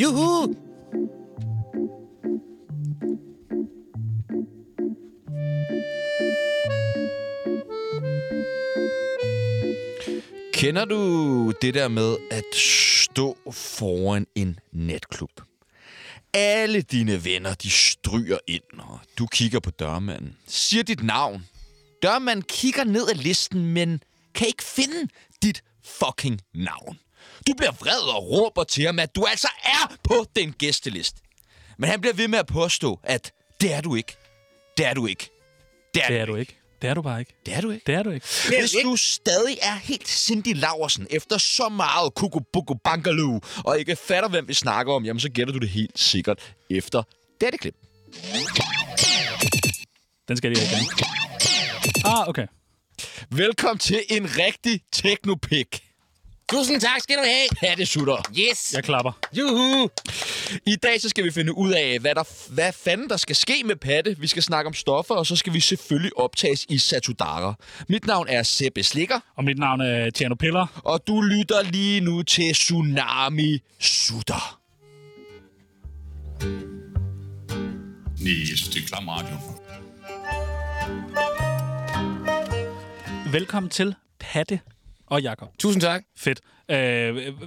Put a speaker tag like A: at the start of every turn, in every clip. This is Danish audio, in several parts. A: Juhu!
B: Kender du det der med at stå foran en natklub? Alle dine venner, de stryger ind, og du kigger på dørmanden. Siger dit navn. Dørmanden kigger ned ad listen, men kan ikke finde dit fucking navn. Du bliver vred og råber til ham, at du altså er på den gæsteliste. Men han bliver ved med at påstå, at det er du ikke. Det er du ikke.
A: Det er du ikke. Det er du bare ikke.
B: Det er du ikke.
A: Det er du ikke.
B: Hvis du stadig er helt Cindy Laversen efter så meget kukubuku bankaloo, og ikke fatter, hvem vi snakker om, jamen så gætter du det helt sikkert efter dette klip.
A: Den skal jeg lige have igen. Ah, okay.
B: Velkommen til en rigtig teknopik.
C: Tusind tak skal du have.
B: Pattesutter.
C: Yes.
A: Jeg klapper.
C: Juhu.
B: I dag så skal vi finde ud af, hvad, der, hvad fanden der skal ske med Patte. Vi skal snakke om stoffer, og så skal vi selvfølgelig optages i Satudara. Mit navn er Sebbe Slikker,
A: Og mit navn er Tjerno Piller.
B: og du lytter lige nu til Tsunami Sutter.
D: Nej, jeg synes, det er klam radio.
A: Velkommen til Patte og Jakob.
C: Tusind tak.
A: Fedt. Øh,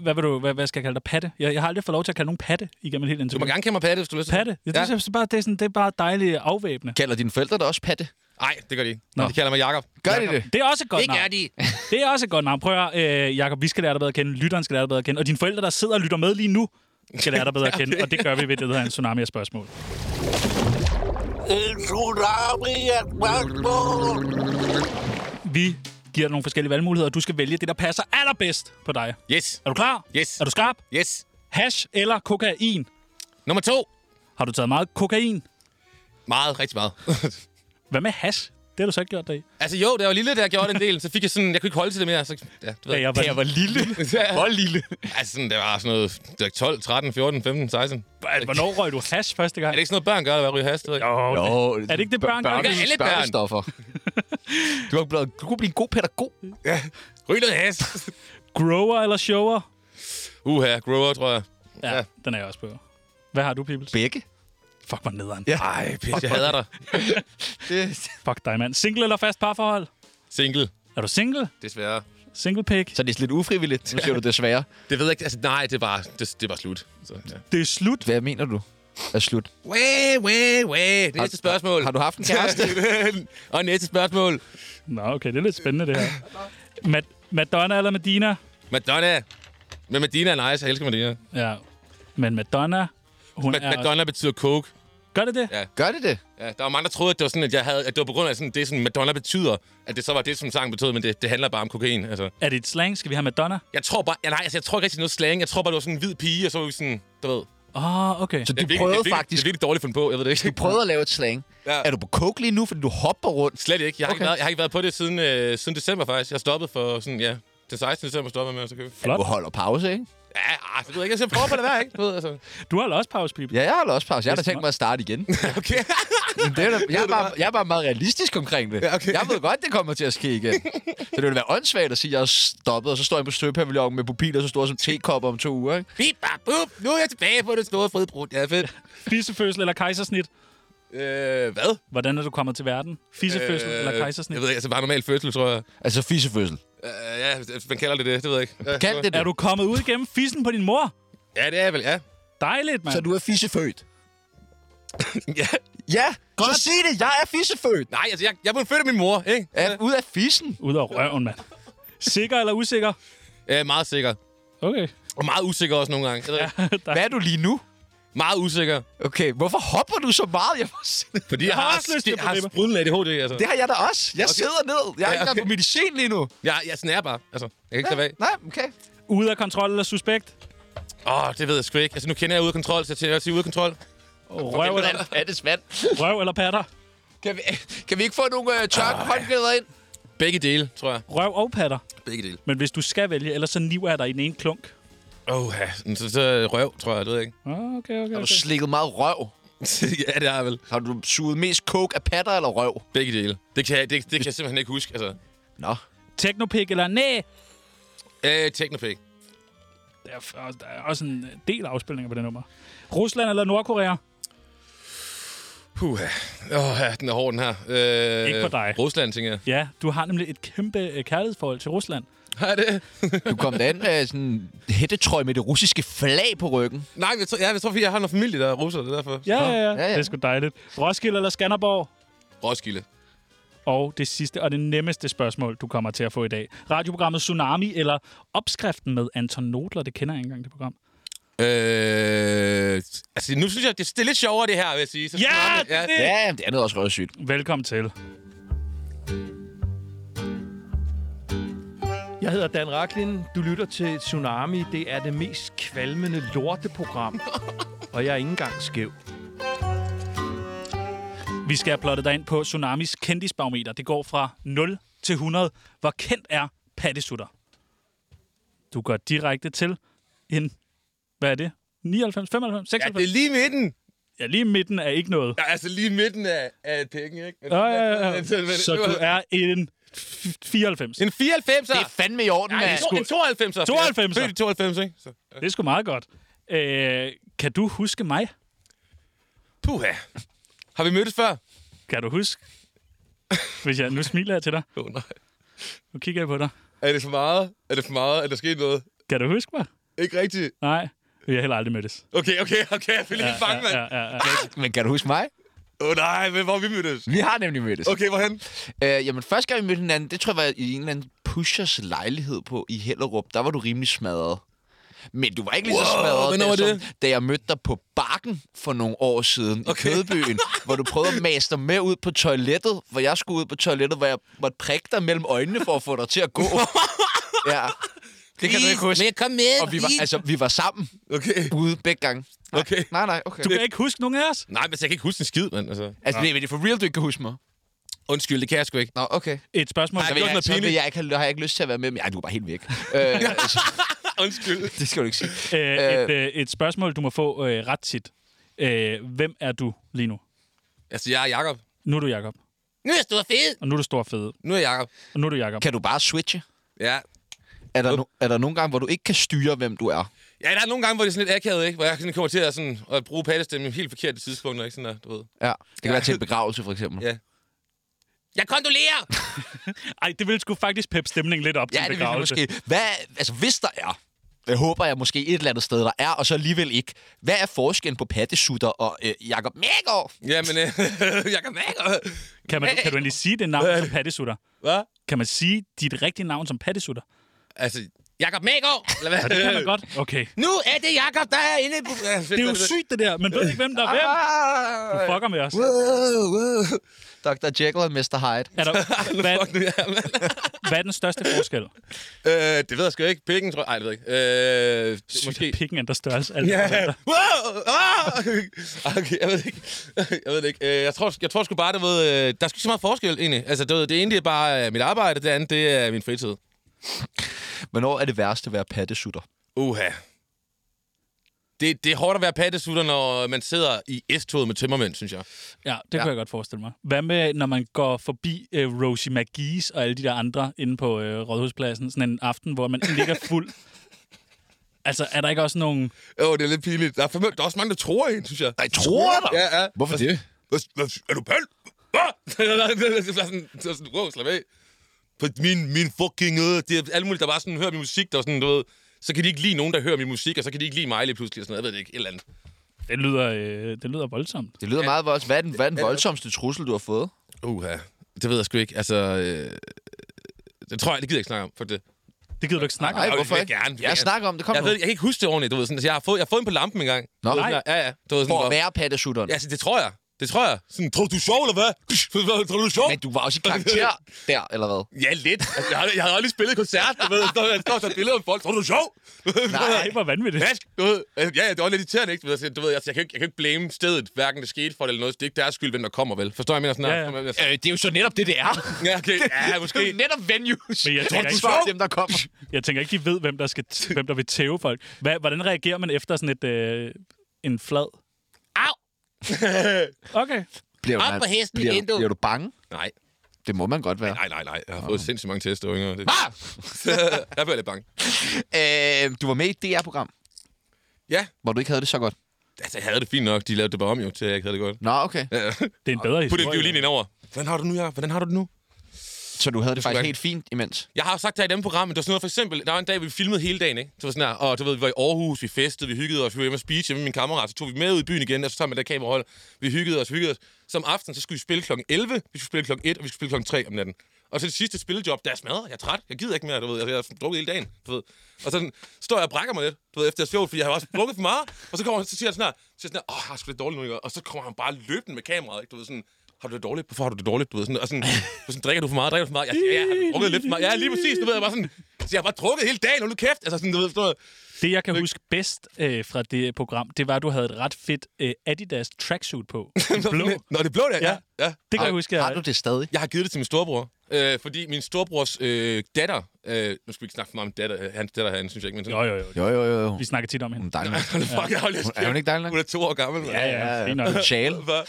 A: hvad, vil du, hvad, hvad skal jeg kalde dig? Patte? Jeg, jeg har aldrig fået lov til at kalde nogen patte igennem et helt
C: Du
A: interview.
C: må gerne kalde mig Patte, hvis du har lyst. til.
A: Patte? Jeg
C: Ja.
A: synes, ja. bare, det, er sådan, det er bare dejligt afvæbnende.
B: Kalder dine forældre dig også Patte?
C: Nej, det gør de ikke.
A: Nå.
C: De kalder mig Jakob.
B: Gør de det?
A: Det er også et godt
C: Det
A: navn.
C: gør de.
A: Det er også et godt navn. Prøv at høre, øh, Jacob, vi skal lære dig bedre at kende. Lytteren skal lære dig bedre at kende. Og dine forældre, der sidder og lytter med lige nu, skal lære dig bedre at kende. Og det gør vi ved det, der hedder en tsunami af spørgsmål. Vi giver dig nogle forskellige valgmuligheder, og du skal vælge det, der passer allerbedst på dig.
C: Yes.
A: Er du klar?
C: Yes.
A: Er du skarp?
C: Yes.
A: Hash eller kokain?
C: Nummer to.
A: Har du taget meget kokain?
C: Meget, rigtig meget.
A: Hvad med hash? Det har du så ikke gjort dig i.
C: altså jo, da jeg var lille, der jeg gjorde det en del, så fik jeg sådan, jeg kunne ikke holde til det mere. Så, ja, du ved.
A: Da jeg var- Da jeg var
C: lille?
B: Hvor lille.
C: altså sådan, det var sådan noget det var 12, 13, 14, 15, 16. Er
A: Hvornår røg du hash første gang?
C: det ikke sådan noget, børn gør, at ryge has? Det ved jeg ikke.
A: Jo, det-
B: Jo,
A: Er det ikke det, børn gør?
C: Det gør alle børn.
B: børnestoffer. du, har blevet, du kunne blive en god pædagog.
C: Ryg noget has.
A: Grower eller shower?
C: Uha, grower, tror jeg.
A: Ja, ja,
C: Ja.
A: den er jeg også på. Hvad har du, Pibels?
B: Begge.
A: Fuck, hvor nederen.
B: Ja. Ej, pisse.
C: Jeg hader dig.
A: Fuck dig, mand. Single eller fast parforhold?
C: Single,
A: Er du single?
C: desværre.
A: Single pick?
B: Så det er lidt ufrivilligt, nu siger du desværre.
C: Det ved jeg ikke. Altså, nej, det var, det, det var slut. Så, ja.
A: Det er slut.
B: Hvad mener du? Er slut.
C: Way, way, way. Næste spørgsmål.
B: Har du haft en kæreste?
C: Og næste spørgsmål.
A: Nå, okay, det er lidt spændende, det her. Mad- Madonna eller Medina?
C: Madonna. Men Medina er nice. Jeg elsker Medina.
A: Ja, men Madonna, hun
C: Ma-
A: er...
C: Madonna betyder coke.
A: Gør det det?
C: Ja.
B: Gør det det?
C: Ja, der var mange, der troede, at det var sådan, at, jeg havde, at det var på grund af sådan, det, sådan Madonna betyder, at det så var det, som sangen betød, men det, det handler bare om kokain. Altså.
A: Er det et slang? Skal vi have Madonna?
C: Jeg tror bare, ja, nej, altså, jeg tror ikke rigtig noget slang. Jeg tror bare, det var sådan en hvid pige, og så var vi sådan, du ved.
A: Åh, oh, okay.
B: Så
C: Det
B: du
C: er virkelig, det
B: prøvede
C: er virkelig,
B: faktisk...
C: Det er virkelig dårligt fundet på, jeg ved det ikke.
B: Du prøvede at lave et slang.
C: Ja.
B: Er du på coke lige nu, fordi du hopper rundt?
C: Slet ikke. Jeg har, okay. ikke,
B: Okay.
C: været, jeg har ikke været på det siden, øh, siden december, faktisk. Jeg har stoppet for sådan, ja, den 16. december stoppede jeg med at så købe.
A: Flot.
B: Du holder pause, ikke?
C: Ja, ah, det ved jeg ikke. Jeg prøver på det være, ikke? Du ved, altså.
A: Du har også pause, Pibels.
B: Ja, jeg holder også pause. Jeg har da tænkt mig at starte igen.
C: Okay.
B: Men det er da, jeg, er bare, jeg er bare meget realistisk omkring det.
C: okay.
B: Jeg ved godt, det kommer til at ske igen. Så det ville være åndssvagt at sige, at jeg er stoppet, og så står jeg på støvpavillonen med pupiller så store som tekopper om to uger. Ikke?
C: Bip, bap, bup. Nu er jeg tilbage på det store fodbrud. Ja, fedt.
A: Fissefødsel eller kejsersnit?
C: Øh, hvad?
A: Hvordan er du kommet til verden? Fissefødsel øh, eller
C: Jeg
A: kejsersnit?
C: ved ikke, altså bare normal fødsel, tror jeg.
B: Altså fissefødsel.
C: Øh, ja, man kalder det det, det ved jeg ikke. Ja,
B: Kald det
A: Er
B: det.
A: du kommet ud igennem fissen på din mor?
C: Ja, det er jeg vel, ja.
A: Dejligt, mand.
B: Så du er fissefødt?
C: ja.
B: Ja, Godt. så sig det. Jeg er fissefødt.
C: Nej, altså, jeg, jeg blev født af min mor, ikke?
B: Er, ud af fissen.
A: Ud af røven, mand. Sikker eller usikker?
C: Ja, meget sikker.
A: Okay.
C: Og meget usikker også nogle gange. Jeg ved ikke.
B: Hvad er du lige nu?
C: Meget usikker.
B: Okay, hvorfor hopper du så meget? Jeg må sige det.
C: Fordi jeg,
A: har
C: har,
A: også lyst til
C: jeg
A: at
C: har
A: blive-
C: sprudlende ADHD, altså.
B: det har jeg da også. Jeg okay. sidder ned. Jeg er ikke
C: Ja,
B: engang
C: okay.
B: på medicin lige nu.
C: Jeg, jeg snærer bare, altså. Jeg kan ikke tage af.
B: Nej, okay.
A: Ude af kontrol eller suspekt?
C: Åh, oh, det ved jeg sgu ikke. Altså, nu kender jeg ude af kontrol, så jeg tænker, jeg siger ude af kontrol.
A: Røv eller,
B: er det svært?
A: røv eller patter?
B: Kan vi, kan vi ikke få nogle øh, tørke håndklæder ind?
C: Begge dele, tror jeg.
A: Røv og patter.
C: Begge dele.
A: Men hvis du skal vælge, ellers så niver jeg dig i den ene klunk.
C: Åh, ja. Så, så røv, tror jeg. Det ved jeg ikke.
A: Ah, Okay, okay,
B: Har du
A: okay.
B: slikket meget røv?
C: ja, det er vel.
B: Har du suget mest coke af patter eller røv?
C: Begge dele. Det kan, jeg, det, det kan jeg simpelthen ikke huske, altså.
B: Nå.
A: Teknopik eller næ?
C: Øh, Technopik.
A: Der er, f- der er også en del afspilninger på det nummer. Rusland eller Nordkorea?
C: Puh, åh, ja, den er hård, den her. Øh,
A: Ikke for dig.
C: Rusland, tænker jeg.
A: Ja, du har nemlig et kæmpe øh, kærlighedsforhold til Rusland.
C: Har jeg det?
B: Du kom da an med sådan en hættetrøje med det russiske flag på ryggen.
C: Nej, jeg tror, ja, jeg tror, fordi jeg har noget familie, der er russer, det er derfor.
A: Ja, ja, ja.
B: ja, ja.
A: Det er sgu dejligt. Roskilde eller Skanderborg?
C: Roskilde.
A: Og det sidste og det nemmeste spørgsmål, du kommer til at få i dag. Radioprogrammet Tsunami eller opskriften med Anton Nodler? Det kender jeg ikke engang, det program.
C: Øh, altså, nu synes jeg, det, det er lidt sjovere, det her, vil jeg sige. Så
A: Ja,
C: Tsunami-
A: det-
B: Ja, det andet er også røvsygt.
A: Velkommen til.
E: Jeg hedder Dan Raklin. Du lytter til Tsunami. Det er det mest kvalmende lorteprogram. Og jeg er ikke engang skæv.
A: Vi skal have plottet dig ind på Tsunamis kendisbarometer. Det går fra 0 til 100. Hvor kendt er pattesutter? Du går direkte til en... Hvad er det? 99, 95,
C: Ja, det
A: 96?
C: er lige midten.
A: Ja, lige midten er ikke noget.
C: Ja, altså lige midten af, af penge, ikke? Men-
A: Ja, ja, ja.
C: men- men- men-
A: Så du er en f- 94.
C: En 94'er!
B: Det er fandme i orden,
C: Nej,
B: mand.
C: en, to, en 92'er.
A: 92'er.
C: Født i 92, ikke? Så.
A: Det er sgu meget godt. Øh, kan du huske mig?
C: Puha. Har vi mødtes før?
A: Kan du huske? Hvis jeg, nu smiler jeg til dig.
C: Åh, oh, nej.
A: Nu kigger jeg på dig.
C: Er det for meget? Er det for meget? Er der sket noget?
A: Kan du huske mig?
C: Ikke rigtigt.
A: Nej. Vi har heller aldrig mødtes.
C: Okay, okay, okay. Jeg blev lige ja, fanget, mand. Åh, ja,
A: ja, ja.
B: Men kan du huske mig?
C: ja. oh, nej, men hvor har vi mødtes?
B: Vi har nemlig mødtes.
C: Okay, hvorhen?
B: Øh, jamen, første gang vi mødte hinanden, det tror jeg var i en eller anden pushers lejlighed på i Hellerup. Der var du rimelig smadret. Men du var ikke lige så
C: Wow,
B: smadret,
C: hvornår
B: da,
C: var
B: som,
C: det?
B: da jeg mødte dig på Bakken for nogle år siden okay. i Kødbyen, hvor du prøvede at mase dig med ud på toilettet, hvor jeg skulle ud på toilettet, hvor jeg måtte prikke dig mellem øjnene for at få dig til at gå. ja. Det kan du ikke huske.
C: Men kom med.
B: Og vi var, altså, vi var sammen
C: Okay,
B: ude begge gange. Nej,
C: okay.
B: nej, nej, okay.
A: Du kan ikke huske nogen af os?
C: Nej, men altså, jeg kan ikke huske en skid, mand. Altså.
B: Altså, det er- det er for real, du ikke kan huske mig.
C: Undskyld, det kan jeg sgu ikke.
B: Nå, okay.
A: Et spørgsmål.
B: Så
A: Ej,
B: vil jeg,
C: noget
B: så vil
C: pinligt.
B: jeg ikke, have- har jeg ikke lyst til at være med, men ja, du er bare helt væk. øh, altså,
C: Undskyld.
B: det skal du ikke sige.
A: øh, et, øh, et spørgsmål, du må få øh, ret tit. Øh, hvem er du lige nu?
C: Altså, jeg er Jacob.
A: Nu er du Jakob,
C: Nu er jeg stor fed.
A: og nu er du stor fede,
C: Nu er jeg Jacob.
A: og nu er du Jakob.
B: Kan du bare switche?
C: Ja.
B: Er der, no, er der nogle gange, hvor du ikke kan styre, hvem du er?
C: Ja, der er nogle gange, hvor det er sådan lidt akavet, ikke? Hvor jeg sådan kommer til at, sådan, at bruge pattestemmen helt forkert i tidspunkter, ikke? Sådan der, du ved.
B: Ja. Det kan være til en begravelse, for eksempel.
C: Ja. Jeg kondolerer!
A: Ej, det ville sgu faktisk peppe stemningen lidt op til
B: ja
A: en
B: det vil jeg
A: begravelse.
B: måske. Hvad, altså, hvis der er, jeg håber jeg måske et eller andet sted, der er, og så alligevel ikke. Hvad er forskellen på pattesutter og øh, Jacob Mægaard?
C: Jamen, øh, jeg kan mærke.
A: Kan, man, kan du endelig sige det navn
C: Hvad er
A: som
C: det?
A: pattesutter?
C: Hvad?
A: Kan man sige dit rigtige navn som pattesutter?
C: Altså, Jakob Mægaard! Eller hvad?
A: Det kan man godt. Okay.
C: Nu er det Jakob, der er inde på...
A: Det er jo sygt, det der. Man ved ikke, hvem
B: Ah,
A: der er hvem. Du fucker med os.
B: Wow, wow. Dr. Ah! Jekyll og Mr. Hyde.
A: Er der, hvad,
C: Fuck nu, ja, mand.
A: hvad er den største forskel?
C: øh, det ved jeg sgu ikke. Pikken, tror jeg. Ej, det ved jeg ikke. Øh,
A: Sygt,
C: måske...
A: at Pikken ændrer størrelse. alt
C: Ja.
A: efter.
C: Wow! Ah! Okay, jeg ved det ikke. Jeg ved det ikke. Øh, Jeg tror, jeg tror sgu bare, du ved, øh, der er sgu ikke så meget forskel, egentlig. Altså, du ved, det ene det er bare øh, mit arbejde, det andet det er min fritid.
B: Hvornår er det værste at være pattesutter?
C: Uha. Det, det er hårdt at være pattesutter, når man sidder i S-toget med tømmermænd, synes jeg.
A: Ja, det ja. kunne
B: Ja.
A: jeg godt forestille mig. Hvad med, når man går forbi øh, Rosie McGee's og alle de der andre inde på øh, Rådhuspladsen, sådan en aften, hvor man ligger fuld? altså, er der ikke også nogen...
C: Åh, det er lidt pinligt. Der er, fandme- der er også mange, der tror en, synes jeg.
B: Nej, tror jeg dig?
C: Ja, ja.
B: Hvorfor det?
C: Hvad, hvad, er du pæl? Hvad? Det var sådan, det var sådan, wow, slap af. For min, min fucking, øh, det er alle mulige, der bare sådan hører min musik, der er sådan, du ved, så kan de ikke lide nogen, der hører min musik, og så kan de ikke lide mig lige pludselig, og sådan noget, jeg ved det ikke, et eller andet.
A: Det lyder, øh, det lyder voldsomt.
B: Det lyder meget voldsomt. Hvad er den, hvad er den voldsomste trussel, du har fået?
C: Uha, det ved jeg sgu ikke, altså, øh, det tror jeg, det gider jeg ikke snakke om, for det.
A: Det gider du ikke snakke
B: Nej,
A: om.
C: det
B: hvorfor
C: vil jeg
B: ikke?
C: gerne. Det vil
B: Jeg
C: jeg
B: snakker om det. Kom
C: Jeg,
B: nu.
C: ved, jeg kan ikke huske det ordentligt, du ved, sådan, altså, jeg har fået, jeg har fået en på lampen engang.
B: Nå.
C: Du ved, sådan, ja, ja, du ved, sådan,
B: For at
C: hvor-
B: være pattesutteren.
C: Ja, altså, det tror jeg, det tror jeg. Sådan, tror du, du er sjov, eller hvad? Tror du, du er sjov?
B: Men du var også i karakter der, eller hvad?
C: Ja, lidt. Altså, jeg, havde, jeg havde aldrig spillet koncert, du ved. Så jeg står så et billede af folk. Tror du, det er sjov?
A: Nej, hvor vanvittigt.
C: Mask, du ved. Altså, Ja, ja, det var lidt irriterende, ikke? Du ved, altså, du ved altså, jeg, kan ikke, jeg kan ikke blame stedet, hverken det skete for det eller noget. Det er ikke deres skyld, hvem der kommer, vel? Forstår jeg, jeg mener
A: Ja, ja.
C: sådan her? Altså,
B: Øh, det er jo så netop det, det er.
C: Ja, okay. Ja, måske.
B: Det er netop venues.
A: Men jeg
B: Hvor
A: tænker
B: du
A: ikke-
B: svarer dem, der kommer.
A: Jeg tænker ikke, de ved, hvem der, skal t- hvem der vil tæve folk. Hva, hvordan reagerer man efter sådan et, øh, en flad?
C: Au!
A: Okay.
B: Bliver
C: Op på hesten
B: bliver,
C: igen, du.
B: Bliver du bange?
C: Nej.
B: Det må man godt være.
C: Nej, nej, nej. Jeg har fået sindssygt mange tester, yngre. Det...
B: Ah!
C: jeg bliver lidt bange.
B: Øh, du var med i et DR-program,
C: Ja,
B: hvor du ikke havde det så godt.
C: altså, jeg havde det fint nok. De lavede det bare om, jo, til jeg ikke havde det godt.
B: Nå, okay.
C: Ja.
A: Det er en bedre
C: Put det
A: historie.
C: violin ind over. Hvordan har du det nu, ja? Hvordan har du det nu?
B: Så du havde det faktisk
C: være-
B: helt fint imens?
C: Jeg har jo sagt det her i dem program, men det var sådan noget, for eksempel, der var en dag, vi filmede hele dagen, ikke? Det var sådan her, og du ved, vi var i Aarhus, vi festede, vi hyggede os, vi var hjemme og spise hjemme med min kammerat, så tog vi med ud i byen igen, og så sammen med det kamerahold, vi hyggede os, vi hyggede os. Som aften, så skulle vi spille kl. 11, vi skulle spille kl. 1, og vi skulle spille kl. 3 om natten. Og så det sidste spillejob, der er smadret, jeg er træt, jeg gider ikke mere, du ved, altså, jeg har drukket hele dagen, du ved. Og sådan står jeg og brækker mig lidt, du ved, efter jeg sjovt, fordi jeg har også drukket for meget, og så kommer han, så siger han sådan her, så siger jeg sådan her, åh, jeg har sgu lidt dårligt nu, ikke? og så kommer han bare løbende med kameraet, ikke? du ved, sådan, har du det dårligt? Hvorfor har du det dårligt? Du ved, sådan, og sådan, og sådan, drikker du for meget? Drikker du for meget? Jeg, ja, jeg har drukket lidt for meget. Ja, lige præcis. Du ved, jeg var sådan, så jeg har bare drukket hele dagen, hold nu kæft. Altså sådan, du ved, sådan noget.
A: Det, jeg kan huske bedst øh, fra det program, det var, at du havde et ret fedt øh, Adidas tracksuit på. En Blå.
C: Nå, det blev det, ja.
A: Ja.
C: ja.
A: Det kan jeg
B: Har-
A: huske, jeg...
B: Har du det stadig?
C: Jeg har givet det til min storebror. Øh, fordi min storebrors øh, datter, øh, nu skal vi ikke snakke for meget om datter, øh, hans datter herinde, synes jeg ikke, men sådan,
A: Jo, jo, jo.
B: Jo, jo, jo. jo.
A: Vi snakker tit om hende.
B: Dejlig. mand.
C: Hold nu fuck, jeg har lidt
B: Er hun ikke dejlig nok?
C: Hun er to år gammel. mand.
A: Ja, ja, fint nok.
B: Sjæl.
C: Hvad?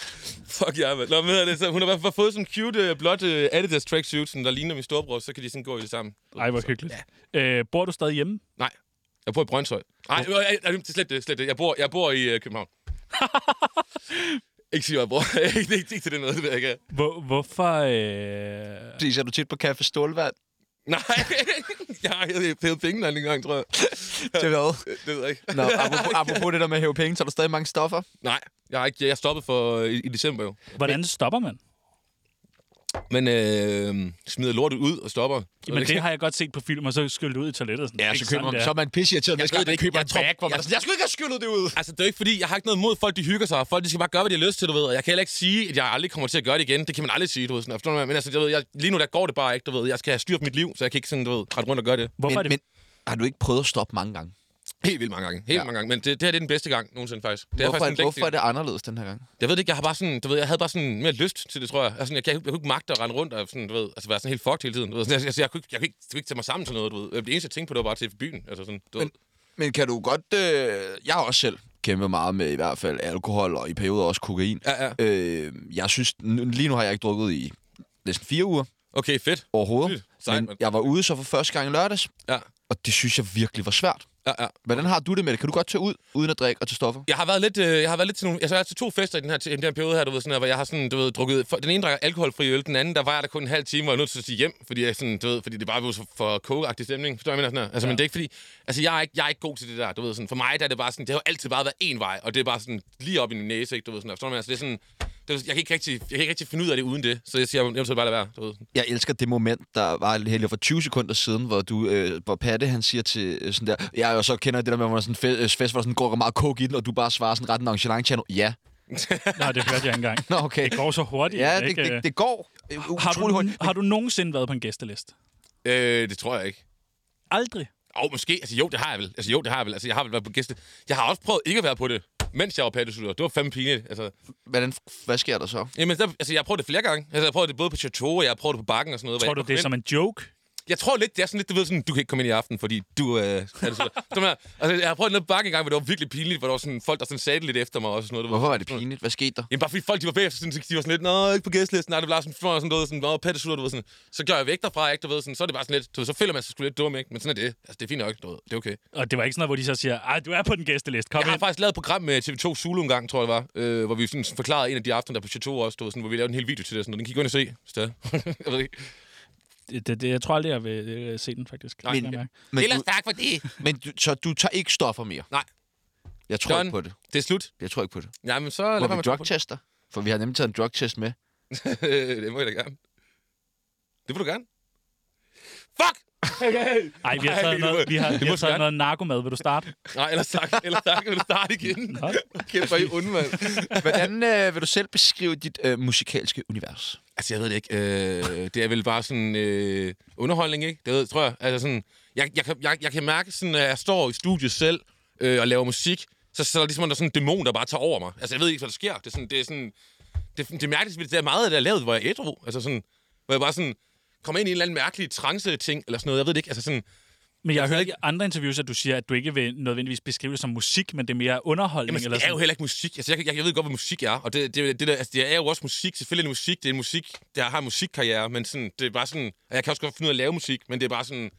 C: Fuck ja, mand. Nå, men ved jeg det, så hun har i hvert fald fået sådan en cute, øh, blåt øh, Adidas tracksuit, sådan, der ligner min storebror, så kan de sådan gå i det sammen.
B: Mm.
A: Ej, hvor hyggeligt. Øh, bor du stadig hjemme?
C: Nej, jeg bor i Brøndshøj. Nej, øh, øh, øh, slet det, slet det. Jeg bor, jeg bor i øh, København. ikke sige, hvor jeg bor. ikke, ikke, ikke til det noget, det ved jeg ikke.
A: Hvor, hvorfor... Øh...
B: Præcis, er du tit på Café Stålvand?
C: Nej, jeg har hævet- hævet penge der en gang, tror jeg.
B: Til hvad?
C: Det ved jeg ikke.
B: Nå, apropos, apropos det der med at hæve penge, så er der stadig mange stoffer.
C: Nej, jeg har ikke. Jeg stoppede for øh, i, i december jo.
A: Hvordan stopper man?
C: Men øh, smider lortet ud og stopper.
A: Jamen, det har jeg godt set på film, og så skyldt ud i toilettet. og Sådan,
B: Ja,
A: "Det er
B: så
A: ikke
B: køber
A: sådan,
B: man,
A: det er."
B: så er man pisse irriteret,
C: ved
B: næste gang
C: det
B: man
C: ikke.
B: køber
C: Jeg
B: en
C: tror-
B: bag, hvor man
C: jeg-
B: sådan, jeg skulle ikke have skyllet det ud.
C: Altså, det er jo ikke fordi, jeg har ikke noget mod folk, de hygger sig. Folk, de skal bare gøre, hvad de har lyst til, du ved. Og jeg kan heller ikke sige, at jeg aldrig kommer til at gøre det igen. Det kan man aldrig sige, du ved. Sådan, jeg forstår, hvad jeg mener. men altså, jeg ved, jeg, lige nu der går det bare ikke, du ved. Jeg skal have styr på mit liv, så jeg kan ikke sådan, du ved, rette rundt og gøre det.
A: Hvorfor er det...
B: Men, men har du ikke prøvet at stoppe mange gange?
C: Helt vildt mange gange. Helt
B: Ja.
C: ja. mange gange. Men det, det her det er den bedste gang nogensinde, faktisk. Det
B: Hvorfor,
C: faktisk
B: er,
C: den
B: hvorfor er
C: længste-
B: det anderledes den her gang?
C: Jeg ved det ikke, jeg har bare sådan, du ved, jeg havde bare sådan mere lyst til det, tror jeg. Altså, jeg, kan, jeg, kunne ikke magte at rende rundt og sådan, du ved, altså være sådan helt fucked hele tiden. Du ved. Sådan, Altså, jeg, kunne ikke, jeg, kunne ikke, jeg kunne ikke tage mig sammen til noget, du ved. Det eneste, jeg tænkte på, det var bare til byen. Altså sådan, du ved.
B: Men kan du godt... Øh, jeg har også selv kæmpet meget med i hvert fald alkohol, og i perioder også kokain.
C: Ja, ja.
B: Øh, jeg synes, nu- lige nu har jeg ikke drukket i næsten fire uger
C: Okay, fedt.
B: overhovedet.
C: Sygt. Sejt,
B: men
C: mand.
B: jeg var ude så for første gang i lørdags,
C: Ja,
B: og det synes jeg virkelig var svært.
C: ja, ja.
B: Hvordan har du det med det? Kan du godt tage ud, uden at drikke og tage stoffer?
C: Jeg har været lidt, øh, jeg har været lidt til nogle, altså, jeg har været til to fester i den her, i den her periode her, du ved, sådan her, hvor jeg har sådan, du ved, drukket, for, den ene drak alkoholfri øl, den anden, der var jeg der kun en halv time, og jeg var nødt til at sige hjem, fordi jeg sådan, du ved, fordi det bare blev så for kogeagtig stemning, forstår du, hvad jeg mener sådan her. Altså, ja. men det er ikke fordi, altså, jeg er ikke, jeg er ikke god til det der, du ved, sådan, for mig der er det bare sådan, det har jo altid bare været en vej, og det er bare sådan lige op i min næse, ikke, du ved, sådan her, forstår du, hvad jeg mener? altså, det er sådan, det er, jeg kan ikke rigtig, jeg kan ikke rigtig finde ud af det uden det, så jeg siger, jeg vil bare lade være, du ved.
B: Jeg elsker det moment, der var helt for 20 sekunder siden, hvor, du, øh, hvor Patte han siger til øh, sådan der, jeg og så kender jeg det der med, hvor man er sådan en fe- øh, fest, hvor der sådan går meget coke i den, og du bare svarer sådan ret nonchalant channel. Ja.
A: Nej, det hørte jeg ikke engang.
B: Nå, okay.
A: Det går så hurtigt.
B: Ja,
A: at
B: det,
A: ikke, øh,
B: det, det går øh,
A: har,
B: utrolig
A: du,
B: hurtigt.
A: har du nogensinde været på en gæsteliste?
C: Øh, det tror jeg ikke.
A: Aldrig.
C: Åh, oh, måske. Altså, jo, det har jeg vel. Altså, jo, det har jeg vel. Altså, jeg har vel været på gæste. Jeg har også prøvet ikke at være på det, mens jeg var patteslutter. Det var fandme pinligt. Altså,
B: Hvordan, hvad sker der så?
C: Jamen, der, altså, jeg har prøvet det flere gange. Altså, jeg har prøvet det både på Chateau, og jeg har prøvet det på bakken og sådan noget. hvor
A: Tror
C: jeg
A: du,
C: kom
A: det er
C: ind-
A: som en joke?
C: Jeg tror lidt, det er sådan lidt, du ved sådan, du kan ikke komme ind i aften, fordi du øh, er det sådan. Sådan her. altså, jeg har prøvet noget på bakken engang, hvor det var virkelig pinligt, hvor der var sådan folk, der sådan sagde det lidt efter mig og sådan noget. du ved.
B: Hvorfor var det pinligt? Hvad skete der?
C: Jamen, bare fordi folk, de var bagefter, sådan, de var sådan lidt, nå, ikke på gæstlisten, nej, det var sådan, for sådan noget, sådan, nå, Pettersur, du ved sådan, så gør jeg væk derfra, ikke, du ved sådan, så er det bare sådan lidt, du ved, så føler man sig sgu lidt dum, ikke, men sådan er det, altså, det er fint nok, du ved, det er okay.
A: Og det var ikke sådan noget, hvor de så siger, ej, du er på den gæsteliste, kom
C: Jeg har
A: ind.
C: faktisk lavet et program med TV2 Zulu en gang, tror jeg det var, øh, hvor vi sådan forklarede en af de aftener, der på Chateau også, du ved, sådan, hvor vi lavede en hel video til det, og sådan, noget. den kan I gå ind og se, stadig. jeg ved ikke.
A: Det, det, det, jeg tror aldrig, jeg vil øh, se den, faktisk.
C: Nej,
A: Kan
B: men-
A: jeg mærke.
B: Men,
C: Ellers
B: du,
C: tak for det.
B: men du, så du tager ikke stoffer mere?
C: Nej.
B: Jeg tror
C: Done.
B: ikke på det.
C: Det er slut.
B: Jeg tror ikke på det.
C: Jamen, så lad
B: Må
C: være med
B: vi
C: at tro på det.
B: drugtester? For vi har nemlig taget en drugtest med.
C: det må jeg da gerne. Det vil du gerne. Fuck!
A: Ej, vi har
C: Nej,
A: taget
C: det
A: noget,
C: må-
A: vi har,
C: det
A: vi har
C: må du gerne.
A: taget noget narkomad. Vil du starte?
C: Nej, ellers tak. Ellers tak. Vil du starte igen? Kæft, hvor er I onde, mand.
B: Hvordan øh, vil du selv beskrive dit øh, musikalske univers?
C: Altså, jeg ved det ikke. Øh, det er vel bare sådan øh, underholdning, ikke? Det ved, tror jeg. Altså sådan, jeg, jeg, kan, jeg, jeg kan mærke, sådan, at jeg står i studiet selv øh, og laver musik, så, så er der ligesom der er sådan en dæmon, der bare tager over mig. Altså, jeg ved ikke, hvad der sker. Det er sådan, det er sådan, det, det er mærkeligt, fordi det er meget af det, jeg lavede, hvor jeg er ædru. Altså sådan, hvor jeg bare sådan, kommer ind i en eller anden mærkelig trance-ting, eller sådan noget. Jeg ved det ikke. Altså sådan,
A: Men jeg har hørt i andre interviews, at du siger, at du ikke vil nødvendigvis beskrive det som musik, men det er mere underholdning.
C: Jamen,
A: eller
C: det er
A: sådan.
C: jo heller ikke musik. Altså, jeg, jeg, jeg ved godt, hvad musik er. Og det, det, det, der, altså, det er jo også musik. Selvfølgelig er det musik. Det er en musik, der har en musikkarriere. Men sådan, det er bare sådan... Og jeg kan også godt finde ud af at lave musik, men det er bare sådan...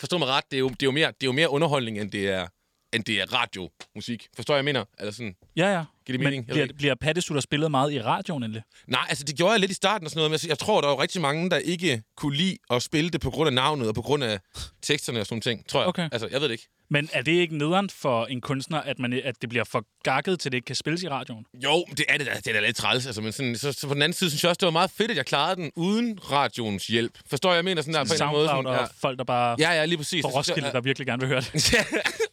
C: Forstå mig ret, det er jo, det er jo, mere, det er jo mere underholdning, end det er, end det er radiomusik. Forstår jeg, jeg mener? Eller sådan...
A: Ja, ja.
C: Giver
A: Men
C: det mening? Jeg ved
A: Bliver,
C: ikke.
A: bliver pattesutter spillet meget i radioen endelig?
C: Nej, altså det gjorde jeg lidt i starten og sådan noget, men jeg, jeg tror, der var rigtig mange, der ikke kunne lide at spille det på grund af navnet og på grund af teksterne og sådan nogle ting, tror jeg.
A: Okay.
C: Altså, jeg ved det ikke.
A: Men er det ikke nederen for en kunstner, at, man, at det bliver for gakket, til det ikke kan spilles i radioen?
C: Jo, det er det da. Det er da lidt træls. Altså, men sådan, så, så, på den anden side synes jeg også, det var meget fedt, at jeg klarede den uden radioens hjælp. Forstår jeg, jeg mener sådan der på en eller anden måde?
A: SoundCloud
C: Sådan,
A: og folk, der bare ja,
C: ja. ja, ja, lige præcis.
A: på Roskilde, der virkelig gerne vil høre det.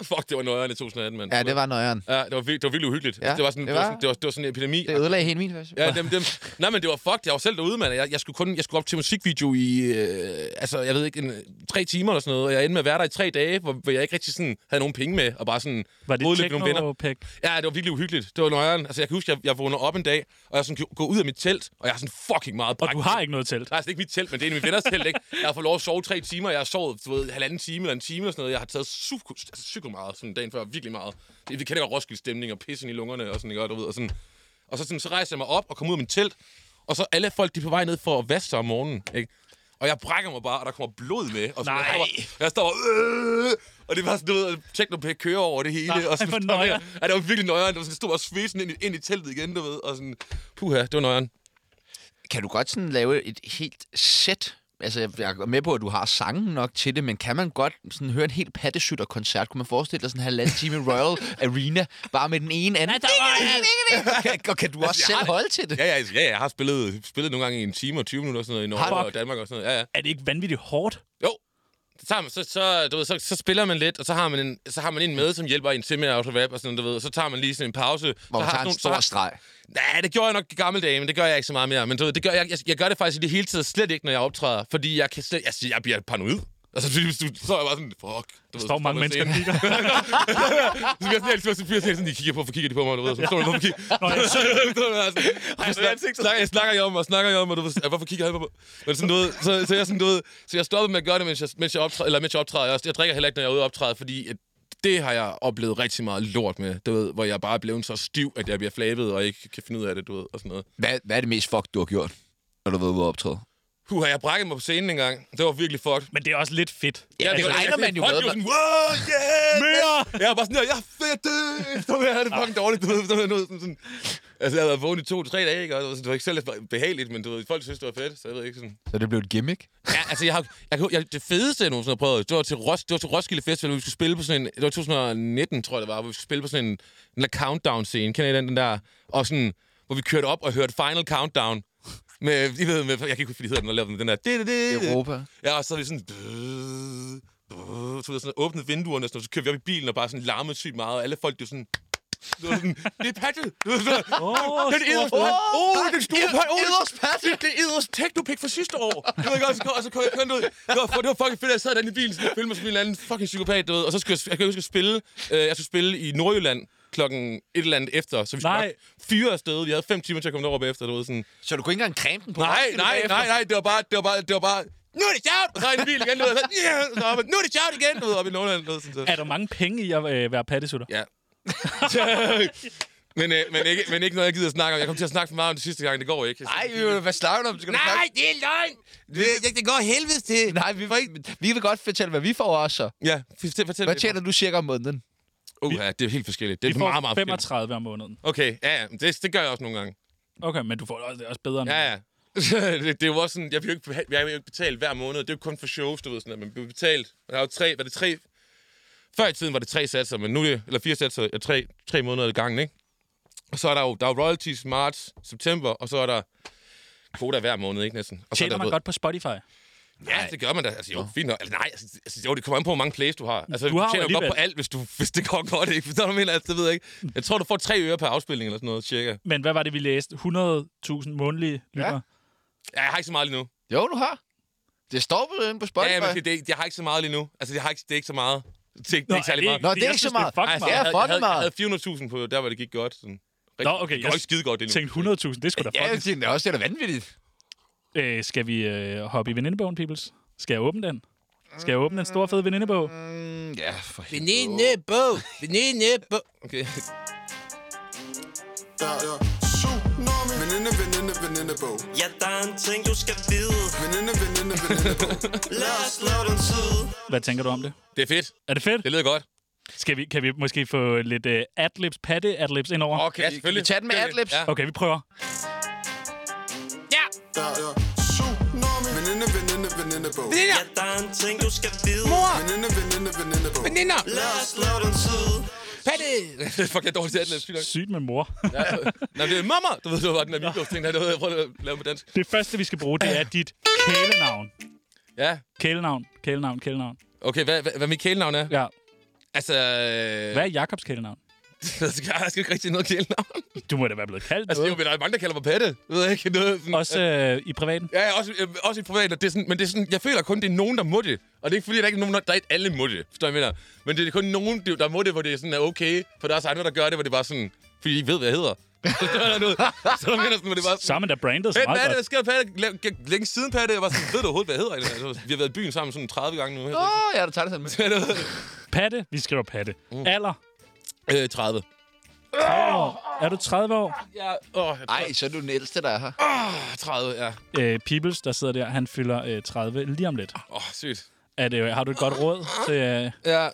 C: Fuck, det var nøjeren i 2018, mand.
B: Ja, det var nøjeren.
C: Ja, det var, vildt, det var vildt uhyggeligt.
B: Ja,
C: det, var sådan,
B: det
C: det, var,
B: var-
C: sådan, det, var, det var sådan en epidemi.
B: Det ødelagde hele min version.
C: Ja, dem, dem. Nej, men det var fuck. Jeg var selv derude, mand. Jeg, jeg skulle kun jeg skulle op til musikvideo i, øh, altså, jeg ved ikke, en, tre timer eller sådan noget. Og jeg endte med at være der i tre dage, hvor, hvor jeg ikke rigtig sådan, havde nogen penge med. Og bare sådan
A: Var det
C: modlægge nogle venner.
A: techno-pæk?
C: Ja, det var virkelig uhyggeligt. Det var nøjeren. Altså, jeg kan huske, jeg, jeg vågner op en dag, og jeg sådan, kan gå ud af mit telt, og jeg har sådan fucking meget
A: Og
C: bræk.
A: du har ikke noget telt.
C: Nej, altså, det er ikke mit telt, men det er en af mine venners telt, ikke? Jeg har fået lov at sove tre timer, jeg har sovet, du ved, halvanden time eller en time eller sådan noget. Jeg har taget psyko, altså, psyko meget, sådan dagen før, virkelig meget. Det, vi kender godt Roskilde stemning og pissen i lungerne og sådan, ikke? Og, du ved, og, sådan. og så, sådan, så rejser jeg mig op og kommer ud af min telt, og så alle folk, de er på vej ned for at vaske sig om morgenen, ikke? Og jeg brækker mig bare, og der kommer blod med. Og sådan,
A: Nej.
C: Jeg, står bare- jeg står bare, øh, og det var sådan noget, Technopæk kører over det hele.
A: Nej,
C: og sådan,
A: hvor
C: står der-
A: nøjeren.
C: Ja, det var virkelig nøjeren. Det var sådan, jeg stod bare svesen ind, i- ind i teltet igen, du ved. Og sådan, puha, det var nøjeren.
B: Kan du godt sådan lave et helt sæt? Altså, jeg jeg er med på, at du har sangen nok til det, men kan man godt sådan høre en helt pattesytter-koncert? Kunne man forestille dig sådan en halvanden time i Royal Arena, bare med den ene anden? Kan, og kan du også selv holde til det?
C: Ja, ja, altså, ja, ja, jeg har spillet, spillet nogle gange i en time og 20 minutter og sådan noget i Norge
A: Fuck.
C: og Danmark og sådan noget. Ja, ja.
A: Er det ikke vanvittigt hårdt?
C: Jo. Så, tager man, så, så, du ved, så, så spiller man lidt, og så har man en, så har man en med, som hjælper en til med at rap og sådan noget, du ved. Og så tager man lige sådan en pause.
B: Hvor man
C: så har
B: tager en
C: sådan
B: stor
C: nogle- så har-
B: streg.
C: Nej, det gjorde jeg nok i gamle dage, men det gør jeg ikke så meget mere. Men du ved, det gør, jeg, jeg, jeg gør det faktisk i det hele taget slet ikke, når jeg optræder, fordi jeg, kan slet, altså, jeg bliver paranoid. Altså, du, du, så er jeg bare sådan, fuck.
A: Der
C: Du
A: står mange mennesker og kigger.
C: Så bliver jeg sådan, bliver sådan, de kigger på, for kigger de på mig, du ved, så står der nogen, der kigger. Nå, jeg "Altså, snakker, snakker, jeg snakker jeg om mig, snakker jeg om mig, du ved, "Ah, hvorfor kigger han på mig? Men sådan noget, så, så jeg sådan noget, så jeg stoppede med at gøre det, mens jeg, mens jeg optræder, eller mens jeg optræder, jeg, også, jeg drikker heller ikke, når jeg er ude og optræde, fordi at det har jeg oplevet rigtig meget lort med, du ved, hvor jeg bare er blevet så stiv, at jeg bliver flabet og ikke kan finde ud af det, du ved, og sådan noget.
B: Hvad, hvad er det mest fuck, du har gjort, når du har været ude og optræde?
C: Puh, jeg brækkede mig på scenen engang. Det var virkelig fucked.
A: Men det er også lidt fedt.
B: Ja, det
C: var-
B: regner man jo
C: folk
B: med.
C: de var sådan, wow, yeah!
A: Mere!
C: Jeg var bare sådan der, jeg er fedt, øh, så jeg havde det fucking dårligt, du ved, så noget sådan, sådan. Altså, jeg havde været vågen i to-tre dage, ikke? Og det var, sådan, det var ikke selv behageligt, men du ved, folk synes, det var fedt, så jeg ved ikke sådan.
B: Så det blev et gimmick?
C: Ja, altså, jeg har, jeg, kan- jeg, det fedeste, jeg nogensinde har prøvet, det var, til Ros, det var til Roskilde Festival, hvor vi skulle spille på sådan en... Det var 2019, tror jeg, det var, hvor vi skulle spille på sådan en, en der countdown-scene. Kender I den, den der? Og sådan, hvor vi kørte op og hørte Final Countdown. Med, I ved, med, jeg kan ikke huske, hvad de hedder den, og lavede den, den der... Det, det,
B: Øh.
C: det,
B: Europa.
C: Ja, og så er vi sådan... Så vi sådan åbnet vinduerne, og sådan, og så kører vi op i bilen og bare sådan larmede sygt meget, og alle folk, det er sådan... Det, var sådan, det er Patrick! Det er sådan,
A: Åh,
C: den edderste,
A: store-
C: oh, oh, den store pej, oh,
B: Eders Patrick!
C: det, det er edderste teknopik fra sidste år. Det var ikke også, og så kom jeg kun ud. Det var, det var fucking fedt, at jeg sad derinde i bilen, sådan, og følte mig som en eller anden fucking psykopat, du ved. Og så skulle jeg, jeg kan huske at spille, øh, jeg skulle spille i Nordjylland klokken et eller andet efter, så vi skulle
A: Nej.
C: nok fyre afsted. Vi havde fem timer til at komme derover bagefter, du ved, sådan.
B: Så du kunne ikke engang creme den på
C: Nej,
B: Roskilde
C: nej,
B: bagefter?
C: nej, nej, det var bare, det var bare, det var bare, nu er det sjovt! Og så er jeg i en bil igen, du ved, og så, yeah, så op, nu er det sjovt igen, du ved, op i Nordjylland, du ved, sådan, så.
A: Er der mange penge i at øh, være pattesutter?
C: Ja. men, øh, men, ikke, men ikke noget, jeg gider at snakke om. Jeg kom til at snakke for meget om det sidste gang, det går ikke.
B: Nej, vi vil, hvad snakker du om? Skal du snakke-
C: det er løgn! Det, det, det går helvedes til.
B: Nej, vi, vi vil godt fortælle, hvad vi får også. så.
C: Ja, fortæl, fortæl
B: Hvad tjener du cirka om måneden?
C: Uh, ja, det er helt forskelligt.
A: Vi
C: Det er
A: får
C: meget, meget forskelligt.
A: 35 om måneden.
C: Okay, ja, ja, men det, det gør jeg også nogle gange.
A: Okay, men du får det også, det er også bedre end
C: Ja, ja. det, det, er jo også sådan, jeg bliver, jo ikke, beha- jeg bliver jo ikke betalt hver måned. Det er jo kun for shows, du ved sådan, at man bliver betalt. Og der er jo tre, var det tre? Før i tiden var det tre satser, men nu er det, eller fire satser, ja, tre, tre måneder ad gangen, ikke? Og så er der jo, der er jo royalties marts, september, og så er der kvoter hver måned, ikke næsten? Og så er
A: Tjener
C: der,
A: man
C: ved-
A: godt på Spotify?
C: Ja, det gør man da. Altså, jo, fint nok. Altså, nej, altså, altså, jo, det kommer an på, hvor mange plays du har. Altså,
A: Du
C: du,
A: har jo
C: har tjener jo godt
A: alligevel-
C: på alt, hvis, du, hvis det går godt, ikke? Forstår du, hvad jeg mener? Altså, det ved jeg ikke. Jeg tror, du får tre øre per afspilning eller sådan noget, cirka.
A: Men hvad var det, vi læste? 100.000 månedlige lyttere?
C: Ja, jeg har ikke så meget lige nu.
B: Jo, du har. Det står på inde på Spotify.
C: Ja, ja, men det, det, jeg har ikke så meget lige nu. Altså, jeg har ikke, det er ikke så meget. Det er ikke, det
A: Nå,
C: er ikke særlig
A: er
C: meget. Altså,
B: Nå, det er
A: jeg
B: ikke
A: synes,
B: så meget. Altså,
A: Det er fucking
C: jeg,
B: Ja,
A: meget.
C: havde,
B: fucking
C: jeg, havde,
B: meget.
C: jeg havde 400.000 på, der hvor det gik godt. Sådan.
A: Nå, okay,
C: Det
A: jeg
C: går ikke skide godt lige nu.
A: Tænkte 100.000, det er sgu da
B: Ja,
A: fucking...
B: jeg tænkte, det er også det er da vanvittigt.
A: Øh, skal vi øh, hoppe i venindebogen, peoples? Skal jeg åbne den? Skal jeg åbne den store fede venindebog?
B: Mm, ja, for helvede.
C: Venindebog! Venindebog! Okay.
F: Der er tsunami. Veninde, veninde, venindebog.
G: Ja, der er en ting, du skal vide.
F: Veninde, veninde, venindebog.
G: Lad os slå den tid.
A: Hvad tænker du om det?
C: Det er fedt.
A: Er det fedt?
C: Det lyder godt.
A: Skal vi, kan vi måske få lidt uh, adlibs, patte adlibs indover?
B: Okay, ja, selvfølgelig. Kan vi tage den med adlibs?
C: Ja.
A: Okay, vi prøver.
F: Der er tsunami. Veninde, veninde, venindebog.
G: Ja, der er en ting, du skal vide.
F: Veninde, veninde, venindebog.
C: Veninder!
G: Lad os slå den tid.
C: Patte! Fuck, jeg er dårlig til at lave sygt nok.
A: Sygt med mor.
C: Ja, Nej, det er mamma! Du ved, det var den der Migos ting, der jeg prøver at lave den på dansk.
A: Det første, vi skal bruge, det er dit kælenavn.
C: Ja,
A: Kælenavn, kælenavn, kælenavn.
C: okay, hvad, hvad, hvad mit kælenavn er?
A: Ja.
C: Altså...
A: Hvad er Jakobs kælenavn?
C: Jeg skal, jeg skal ikke rigtig noget kælenavn.
A: Du må da være blevet kaldt
C: Altså,
A: altså,
C: det er jo, men der er mange, der kalder mig Patte. Jeg ved ikke noget. Sådan,
A: Også øh, i privaten.
C: Ja, ja, også, øh, også i privat, og det er sådan, men det er sådan, jeg føler kun, det er nogen, der må det. Og det er ikke fordi, der er ikke nogen, der, der er ikke alle må det, forstår jeg mener. Men det er kun nogen, der der må det, hvor det er sådan er okay, for der er også andre, der gør det, hvor det er bare sådan, fordi de ikke ved, hvad jeg hedder. så der mener sådan, hvor det er bare
A: Så
C: sådan,
A: er man da brandet så
C: Hey,
A: meget
C: Patte, hvad
A: godt.
C: sker der, Patte? Læ- læ- Længe siden, Patte. Jeg var sådan, ved du overhovedet, hvad jeg hedder? egentlig? Altså, vi har været i byen sammen sådan 30 gange nu.
B: Åh, oh, ja, du tager det sådan med.
A: Patte, vi skriver patte. Mm. Alder.
C: Øh, 30.
A: Er du 30 år?
C: Ja, åh, jeg
B: Ej, så er du den ældste, der er her.
C: er 30, ja.
A: Øh, Peoples, der sidder der, han fylder øh, 30 lige om lidt.
C: Åh, oh, sygt.
A: Er det, har du et godt råd til... Øh,
C: Ja.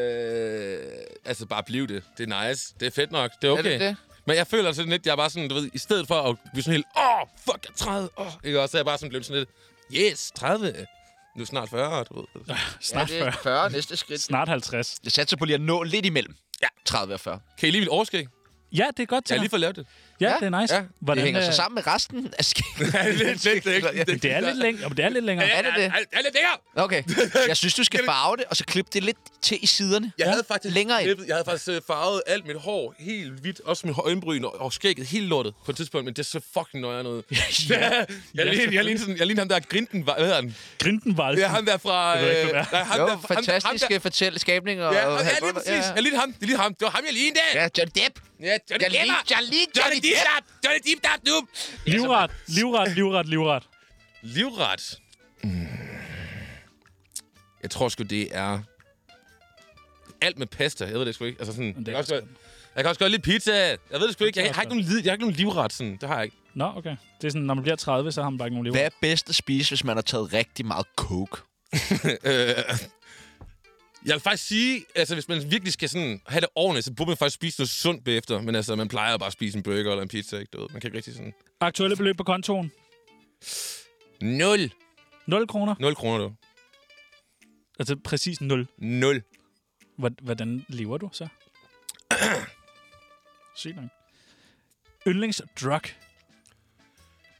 C: Øh, altså, bare bliv det. Det er nice. Det er fedt nok. Det er okay.
B: Er det det?
C: Men jeg føler sådan lidt, jeg er bare sådan, du ved, i stedet for at blive sådan helt, åh, oh, fuck, jeg er 30, åh, oh, ikke også, så er jeg bare sådan blevet sådan lidt, yes, 30, nu er snart 40, du ved.
B: Ja,
A: snart,
B: det er
A: 40,
B: 40 næste skridt.
A: snart 50.
B: Jeg satser på lige at nå lidt imellem. Ja. 30 og 40.
C: Kan I lige mit overskæg?
A: Ja, det er godt til
C: Jeg
A: dig.
C: har lige fået lavet det.
A: Ja, det er nice.
C: Ja,
A: Ja,
C: det
A: Hvordan,
B: det hænger
A: øh,
B: så sammen med resten af skægget.
C: Ja, det er lidt, lidt, lidt, lidt,
A: Det er lidt længere. Det er lidt længere.
B: Er det det?
C: Jeg er lidt længere.
B: Okay. Jeg synes, du skal farve det, og så klippe det lidt til i siderne.
C: Jeg havde faktisk,
B: Længere ind.
C: klippet- jeg havde faktisk øh, farvet alt mit hår helt hvidt, også mit øjenbryn og, og skægget helt lortet på et tidspunkt, men det er så fucking nøjere noget. ja, jeg ligner jeg, ligner sådan- jeg ligner ham der grinden, hvad hedder han?
A: Grindenvald.
C: Ja, ham der fra...
A: ved ikke, hvem er.
C: øh, nej, ham
B: Jo,
C: der- ham- ham
B: fantastiske
C: der-
B: fortælleskabninger.
C: Ja,
B: og
C: ham- ja, lige
B: halvbånder.
C: præcis. Jeg lignede ham. Det lignede ham. Det var ham, jeg lignede.
B: Ja, Johnny Depp.
C: Ja, Johnny
B: Jeg lige,
C: Depp.
B: jeg lige Johnny
C: Johnny
B: Depp.
C: Depp! Johnny Depp, der er du!
A: Livret, livret, livret, livret.
C: Livret. Hmm. Jeg tror sgu, det er... Alt med pasta, jeg ved det sgu ikke. Altså sådan,
A: det
C: jeg,
A: er
C: kan også
A: også
C: godt, jeg kan også godt lide pizza. Jeg ved det sgu ikke. Jeg,
A: også
C: har ikke nogen, lid- jeg har ikke nogen livret, sådan. Det har jeg ikke.
A: Nå, okay. Det er sådan, når man bliver 30, så har man bare ikke nogen
B: Hvad
A: livret.
B: er bedst at spise, hvis man har taget rigtig meget coke?
C: Øh, jeg vil faktisk sige, altså hvis man virkelig skal sådan have det ordentligt, så burde man faktisk spise noget sundt bagefter. Men altså, man plejer bare at spise en burger eller en pizza, ikke? Du ved, man kan ikke rigtig sådan...
A: Aktuelle beløb på kontoen.
C: 0.
A: 0 kroner.
C: 0 kroner, du.
A: Altså præcis 0.
C: 0.
A: Hvor- Hvordan lever du så? Sygt nok. Yndlingsdrug.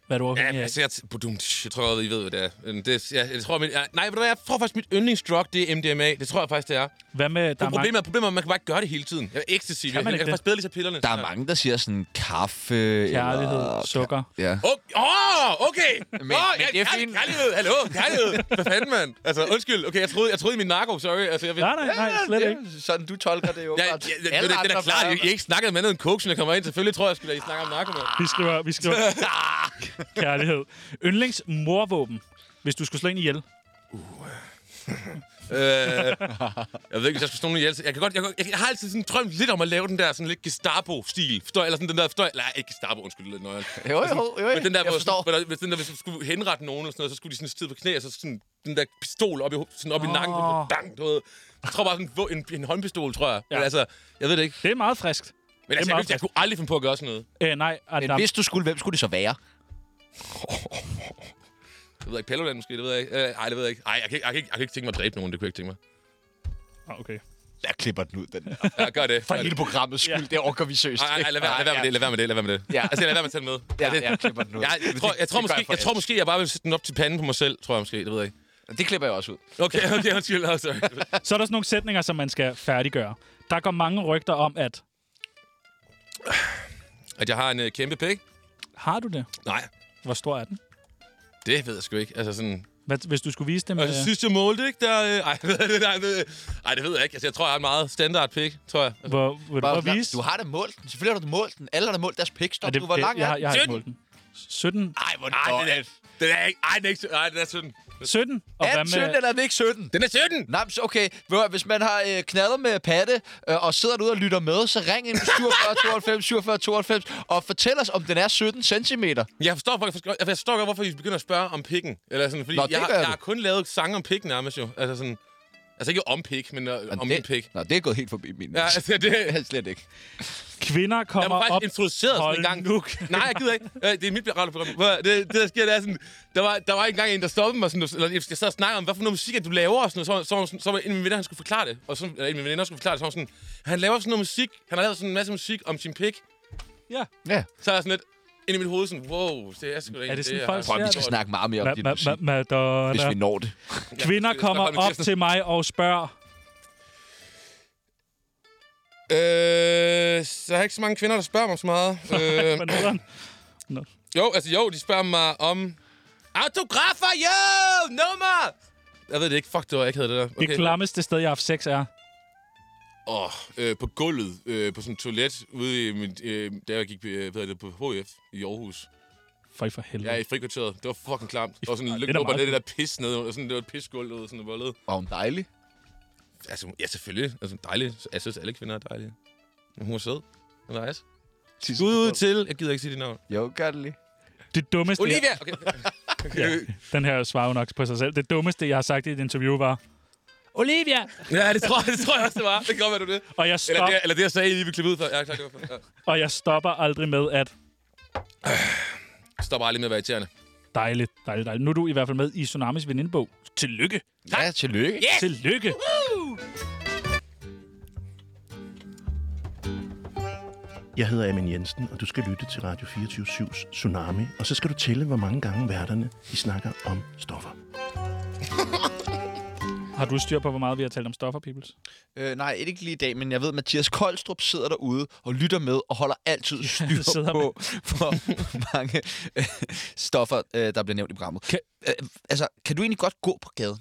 A: Hvad er du
C: Ja,
A: afhængig
C: men
A: af?
C: altså, jeg, t- budum, tsh, jeg tror, I ved, hvad det er. Øhm, Det, er- jeg, jeg tror, min, jeg, nej, ved du hvad, jeg tror faktisk, mit yndlingsdrug, det er MDMA. Det tror jeg faktisk, det er.
A: Hvad med... Der
C: Der
A: er
C: problemet, er, problemet er, at man kan bare ikke gøre det hele tiden. Jeg er ecstasy. Jeg, jeg,
A: man
C: jeg
A: ikke
C: kan
A: det?
C: faktisk bedre lige tage pillerne.
B: Der er mange, der siger sådan kaffe eller...
A: kærlighed, sukker.
B: Ja.
C: Åh, oh, okay! Men,
B: men det er fint.
C: Kærlighed, hallo, kærlighed. Hvad fanden, mand? Altså, undskyld. Okay, jeg troede, jeg troede i min narko, sorry. Altså, jeg ved,
A: Nej, nej, nej, slet ikke.
B: Sådan, du tolker det jo.
C: Ja, ja, ja, det, det, det, er da klart, I, I ikke snakket med andet end koksen, jeg kommer ind. Selvfølgelig tror jeg, skulle I snakker om narko, mand.
A: Vi skriver, vi skriver kærlighed. Yndlings morvåben. Hvis du skulle slå en ihjel.
C: Øh, jeg ved ikke, hvis jeg skulle slå nogen ihjel. så- Jeg, kan godt, jeg, kan- jeg, jeg har altid sådan drømt lidt om at lave den der sådan lidt Gestapo-stil. Forstår jeg? Eller sådan den der... Forstår jeg? Nej, ikke Gestapo, undskyld, det er lidt nøjeren.
B: Jo, jo, jo.
C: Men den der,
B: jeg
C: hvor,
B: forstår.
C: sådan, hvor der, hvis, den der, hvis du skulle henrette nogen, eller sådan noget, så skulle de sådan sidde på knæ, og så sådan den der pistol op i, ho- sådan op oh. i nakken.
A: Åh.
C: Bang, du ved. Jeg tror bare sådan en, en, en håndpistol, tror jeg. Ja. Men altså, jeg ved det ikke.
A: Det er meget friskt.
C: Men altså, jeg,
A: meget
C: jeg, jeg kunne aldrig finde på at gøre sådan noget.
A: Æ, nej, og
B: Men
A: der,
B: hvis du skulle, hvem skulle det så være?
C: Jeg ved ikke, Pelloland måske, det ved jeg ikke. Øh, Ej, det ved jeg ikke. Ej, jeg kan ikke, jeg kan ikke, jeg kan ikke tænke mig at dræbe nogen, det kunne jeg ikke tænke mig.
A: Ah, okay.
B: Jeg klipper den ud, den der.
C: Ja, gør det.
B: For
C: Gør det.
B: hele programmets skyld, det orker vi søst.
C: Ej, ej, lad være, lad være med det, lad være med det, lad være med det.
B: Ja.
C: Altså, lad være med at tage den med.
B: Ja, jeg klipper den ud.
C: Jeg, jeg, tror, jeg, tror
B: Det gør
C: måske,
B: for
C: jeg tror
B: alt.
C: måske, jeg bare vil sætte den op til panden på mig selv, tror jeg måske, det ved jeg ikke.
B: Det klipper jeg også ud.
C: Okay, okay, undskyld, oh, sorry.
A: Så er der sådan nogle sætninger, som man skal færdiggøre. Der går mange rygter om, at...
C: At jeg har en øh, kæmpe pæk?
A: Har du det?
C: Nej,
A: Hvor stor er den?
C: det ved jeg sgu ikke. Altså sådan,
A: Hvad, hvis du skulle vise øh, det med...
C: Og så sidst jeg målte, ikke? Der, øh, ej, hvad er det, nej, det, ej, det ved jeg ikke. Altså, jeg tror, jeg har en meget standard pik, tror jeg.
A: Hvor, vil
B: Bare,
A: du prøve at vise?
B: du har da målt den. Selvfølgelig har du målt den. Alle har da målt deres pik.
A: Er
B: Stop, du, hvor lang
A: jeg,
B: er
A: har,
B: den?
A: jeg har ikke
C: 17.
A: målt den. 17?
B: Ej, hvor
C: Nej, den er, den er ikke... Ej, den er ikke... sy- Ej, den er sådan...
A: 17? Og
B: Er den 17, eller er den ikke 17?
C: Den er 17!
B: Nej, men så- okay. Ved du hvad, Hvis man har øh, knaller med patte øh, og sidder derude og lytter med, så ring ind på 47 92 47 92 og fortæl os, om den er 17 cm.
C: Jeg forstår, jeg forstår, jeg forstår godt, hvorfor I begynder at spørge om pikken. Eller sådan, fordi
B: Nå,
C: Nå,
B: det
C: jeg, har-
B: gør
C: jeg
B: du.
C: har kun lavet sange om pik nærmest jo. Altså sådan... Altså ikke om pik, men øh, om min pik.
B: Nå, det er gået helt forbi min.
C: Ja, altså det...
B: Slet ikke.
A: Kvinder
C: Jeg
A: kommer
C: var faktisk
A: op...
C: op. introduceret
A: Hold
C: sådan en gang.
A: nu.
C: Nej, jeg gider ikke. Øh, Det er mit radioprogram. Hvor Det, det der sker, det er sådan... Der var, der var engang en, der stoppede mig. Sådan, eller jeg sad og snakkede om, hvad for noget musik, at du laver. Og sådan, noget. så, så, var hun sådan- så, var en af mine venner, han skulle forklare det. Og så, eller en af mine venner skulle forklare det. Så var hun sådan, han laver sådan noget musik. Han har lavet sådan en masse musik om sin pik.
B: Ja.
C: Så er jeg sådan lidt ind i mit hoved sådan, wow, det er sgu da egentlig
A: sådan,
C: jeg
A: folk
C: har-
A: siger
B: Vi skal snakke meget mere om dit musik, hvis vi
A: Madonna.
B: når det.
A: Kvinder kommer
C: Hold nu
A: op
C: kæft.
A: til mig og spørger...
C: Øh, så er der ikke så mange kvinder, der spørger mig så meget. øh,
A: Hvad hedder den?
C: jo, altså jo, de spørger mig om... Autografer, jo! Nummer! Jeg ved det ikke. Fuck, det var, jeg ikke havde det der.
A: Det klammeste sted, jeg har haft sex, er...
C: Åh, øh, på gulvet, øh, på sådan et toilet, ude i min, øh, da jeg gik på, øh, hvad hedder det, på HF i Aarhus.
A: For i for helvede.
C: Jeg er i frikvarteret. Det var fucking klamt. Der var sådan en
A: det er da
C: lygtlup, og
A: meget
C: det der pis ned, og sådan, det var et pisgulv, og sådan noget bollet.
B: Var hun dejlig?
C: Altså, ja, selvfølgelig. Altså, dejligt. Jeg synes, alle kvinder er dejlige. Men hun er sød. Hun er nice. Skud ud til... Jeg gider ikke sige dit navn.
B: Jo, gør det lige.
A: Det dummeste... jeg-
C: Olivia! Okay.
A: Den her svarer jo nok på sig selv. Det dummeste, jeg har sagt i et interview, var... Olivia!
C: ja, det tror, jeg, det tror jeg også, det var. Det kan godt være, du det.
A: Og jeg,
C: Eller
A: stop,
C: det, eller det, jeg sagde, I lige vil klippe ud for. Ja, klart, det var for. Ja.
A: og jeg stopper aldrig med at...
C: Stop bare lige med at være irriterende.
A: Dejligt, dejligt, dejligt. Nu er du i hvert fald med i Tsunamis venindebog. Tillykke.
B: Ja, tillykke. Yeah.
A: Tillykke.
H: Jeg hedder Amin Jensen, og du skal lytte til Radio 24-7's Tsunami. Og så skal du tælle, hvor mange gange værterne de snakker om stoffer.
A: Har du styr på, hvor meget vi har talt om stoffer, Peoples?
B: Øh, nej, ikke lige i dag, men jeg ved, at Mathias Koldstrup sidder derude og lytter med og holder altid styr
A: sidder
B: på, hvor mange øh, stoffer, øh, der bliver nævnt i programmet. Kan...
A: Kan-
B: Øh, altså, kan du egentlig godt gå på gaden?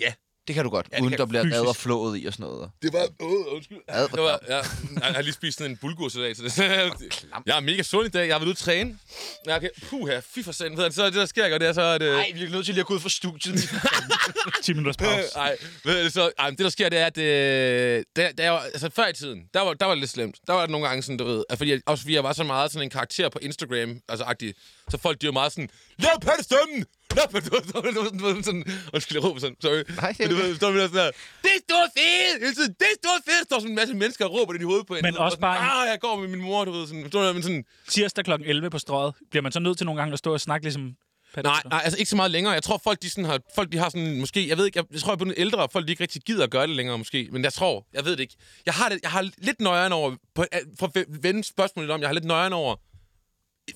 C: Ja.
B: Det kan du godt, ja,
C: det
B: uden
C: kan
B: der
C: jeg
B: bliver
A: fysisk.
B: redder flået i og sådan noget.
C: Det var... Uh, undskyld.
B: Ad,
C: Det var, ja, jeg har lige spist sådan en bulgur i dag, så det, jeg er mega sund i dag. Jeg har været ude at træne. Ja, okay. Puh, her, fy for sand. Ved du, Så det, der sker, ikke, og det er så, at... Øh,
B: vi er nødt til lige at gå ud fra studiet.
A: 10 minutters pause.
C: Nej, ved du, så, ej, men det der sker, det er, at øh, da, da jeg, var- altså, før i tiden, der var, der var det lidt slemt. Der var det nogle gange sådan, du ved, at fordi jeg, også fordi jeg var så meget sådan en karakter på Instagram, altså agtig, så folk de var meget sådan, lav pattestemmen! Lav pattestemmen! Du ved, du ved, sådan, undskyld, jeg råber sådan, sorry.
B: Nej, det er
C: Men du ved, så var det sådan her, det er stor fedt! Hele tiden, det er stor fedt! Der står sådan en masse mennesker og råber det i hovedet på en.
A: Men
C: du ved,
A: også
C: og sådan,
A: bare
C: Ah, jeg går med min mor, du ved, sådan, du ved, men sådan,
A: Tirsdag kl. 11 på strøget. Bliver man så nødt til nogle gange at stå og snakke ligesom...
C: Nej, nej, altså ikke så meget længere. Jeg tror, folk de sådan har, folk de har sådan, måske, jeg ved ikke, jeg, jeg tror, jeg er blevet ældre, og folk de ikke rigtig gider at gøre det længere måske, men jeg tror, jeg ved det ikke. Jeg har, det, jeg har lidt nøjeren over, på, øh, for at vende spørgsmålet om, jeg har lidt nøjeren over,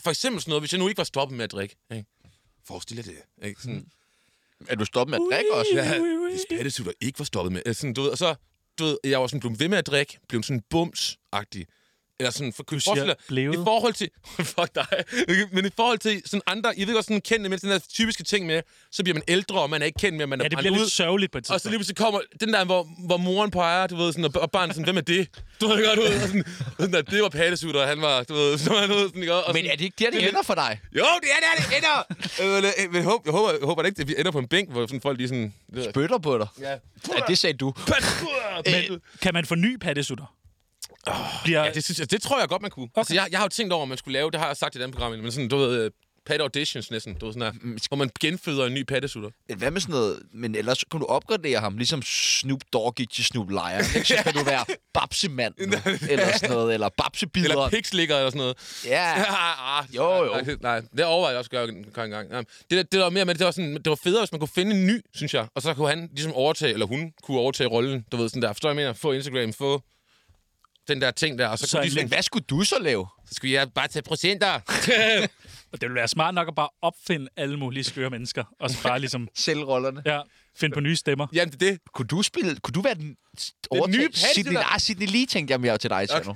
C: for eksempel sådan noget, hvis jeg nu ikke var stoppet med at drikke, ikke? Forestil dig det, ikke? Sådan,
B: Mm. er du stoppet med at drikke også?
C: ja, hvis pattesutter ikke var stoppet med, altså, sådan, du ved, og så, du ved, jeg var sådan blevet ved med at drikke, blev sådan bums-agtig. Eller sådan, for, du
A: siger blevet.
C: i forhold til... Fuck dig. Men i forhold til sådan andre... Jeg ved godt, sådan kendte med den der typiske ting med, så bliver man ældre, og man er ikke kendt mere, man er
A: Ja, det
C: brændt
A: bliver
C: ud.
A: lidt altså. sørgeligt på et tidspunkt.
C: Og så lige pludselig kommer den der, hvor, hvor moren peger, du ved, sådan, og, og barnet sådan, hvem er det? Du ved godt, du ved, og sådan, og sådan, at det var pattesutter, og han var, du ved, så han ud, sådan, ikke? Og
B: Men
C: sådan,
B: er det ikke der, det ender for dig?
C: Jo, det er der, det ender! Øh, men, øh, men jeg håber, jeg håber, jeg håber da ikke, at vi ender på en bænk, hvor sådan folk lige sådan... Det ved jeg ikke.
B: Bøtter på dig?
C: Ja.
B: Ja, det sagde du.
C: Men,
A: Kan man forny pattesutter? Bliver...
C: ja, det, synes jeg, det tror jeg godt, man kunne. Okay. Altså, jeg, jeg har jo tænkt over, om man skulle lave, det har jeg sagt i den program, men sådan, du ved, øh, patte auditions næsten, du ved, sådan her, hvor man genføder en ny pattesutter.
B: Hvad med sådan noget? Men ellers kunne du opgradere ham, ligesom Snoop Dogg gik til Snoop Lion. Ikke? Så kan du være babsemand, nu, eller sådan noget, eller
C: Eller
B: babsebideren.
C: pikslikker eller sådan noget.
B: Ja,
C: Ah,
B: Jo, jo.
C: Nej, det- nej, det overvejede jeg også at gøre en, gøre en gang. Nej, Det, der- det der var mere med, det var, sådan, det var federe, hvis man kunne finde en ny, synes jeg. Og så kunne han ligesom overtage, eller hun kunne overtage rollen, du ved, sådan der. Forstår jeg, hvad jeg mener? Få Instagram, få den der ting der, og så,
A: Så
C: så, kunne de,
A: en
B: men
C: sådan,
B: hvad skulle du så lave?
C: så skulle jeg bare tage procenter.
A: Det ville være smart nok at bare opfinde alle mulige skøre mennesker. Og så bare ligesom...
B: Selvrollerne.
A: Ja, finde på nye stemmer.
C: Jamen, det er det.
B: Kunne du spille... Kunne du være den... Den
C: nye Palle,
B: Sidney,
C: det der.
B: nej, Sidney Lee, tænkte jeg mere til dig, okay.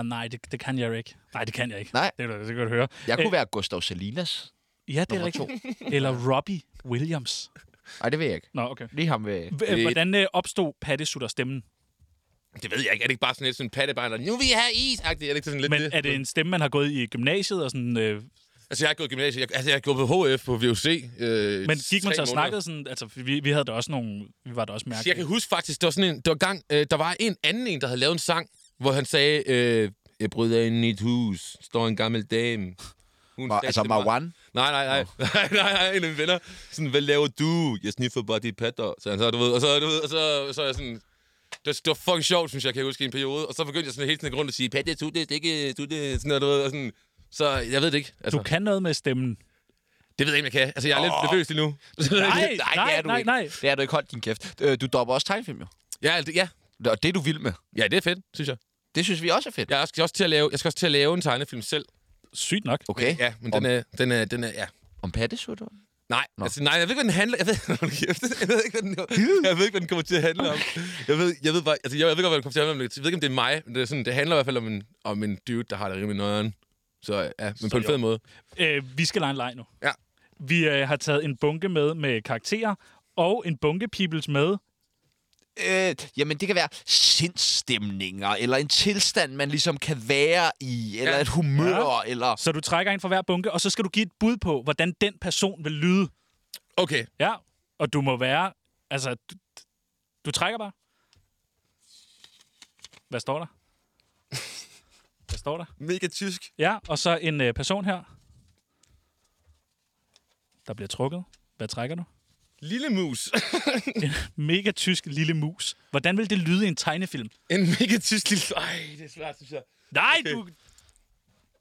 A: Uh, nej, det, det, kan jeg ikke. Nej, det kan jeg ikke.
B: Nej.
A: Det, kan du- det kan du høre.
B: Jeg kunne
A: Øh,
B: være Gustav Salinas.
A: Ja, det er
B: nummer
A: rigtigt. Eller Robbie Williams.
B: Nej, det ved jeg ikke.
A: Nå, okay.
B: Lige ham ved...
A: H- Hvordan øh, opstod pattesutter-stemmen?
C: Det ved jeg ikke. Er det ikke bare sådan lidt sådan en pattebarn, der nu vil jeg have is? Er det ikke sådan lidt
A: Men er det en stemme, man har gået i gymnasiet og sådan... Øh,
C: Altså, jeg har gået i gymnasiet. Jeg, altså, jeg har gået på HF på VUC. Øh,
A: Men gik man
C: tre
A: så og
C: måneder.
A: snakkede sådan... Altså, vi, vi havde da også nogle... Vi var da også
C: Så jeg kan
A: mærkelige.
C: huske faktisk, der var sådan en, der var, gang, øh, der var en anden en, der havde lavet en sang, hvor han sagde, øh, jeg bryder ind i et hus, står en gammel dame. Hun
B: Ma-
C: sagde
B: altså
C: til mig-
B: Marwan?
C: Nej, nej, nej. nej, nej, nej, en af mine venner. Sådan, hvad laver du? Jeg sniffer bare de patter. Så han så, du ved, og så, du ved, og så, så er jeg sådan... Det var, det var fucking sjovt, synes jeg, kan jeg huske, i en periode. Og så begyndte jeg sådan hele tiden at gå rundt og sige, patte, du det, ikke, du det, sådan noget, du ved, og sådan... Så jeg ved det ikke. Altså,
A: Du kan noget med stemmen.
C: Det ved jeg ikke, om jeg kan. Altså, jeg er lidt nervøs lige nu.
A: Nej, nej, nej,
B: ikke.
A: nej.
B: Det er du ikke. Hold din kæft. Øh, Du dropper også tegnefilm, jo.
C: ja, det- ja.
B: Og det er du vild med.
C: ja, det er fedt, synes jeg.
B: Det synes vi også er fedt.
C: Jeg skal også til at lave, jeg skal også til at lave en tegnefilm selv.
A: Sygt nok.
B: Okay.
C: Ja, men den
B: Om-
C: er, den er, den er, ja.
B: Om pattesutter?
C: Nej, altså, nej, jeg ved ikke, hvad den handler... Jeg ved, Hold kæft, jeg ved ikke, hvad den, jeg ved ikke, hvad den kommer til at handle om. Jeg ved, jeg ved bare... Altså, jeg, jeg ved godt, hvad den kommer til at handle om. Jeg ved ikke, om det er mig, men det, er sådan, det handler i hvert fald om en, om en dude, der har det rimelig nøjeren. Så ja, men på en fed måde.
A: Øh, vi skal lege en leg nu.
C: Ja.
A: Vi øh, har taget en bunke med med karakterer, og en bunke peoples med.
B: Øh, jamen, det kan være sindsstemninger, eller en tilstand, man ligesom kan være i, eller
C: Ja.
B: ja. et humør, ja. eller...
A: Så du trækker en fra hver bunke, og så skal du give et bud på, hvordan den person vil lyde.
C: Okay,
A: Ja, og du må være... Altså, du, du trækker bare. Hvad står der? Hvad står der?
C: mega tysk.
A: Ja, og så en øh, person her. Der bliver trukket. Hvad trækker du?
C: Lille mus.
A: Mega tysk lille mus. Hvordan vil det lyde i en tegnefilm?
C: en mega tysk lille... Ej, det er svært, synes jeg.
A: Nej,
C: Okay.
A: du,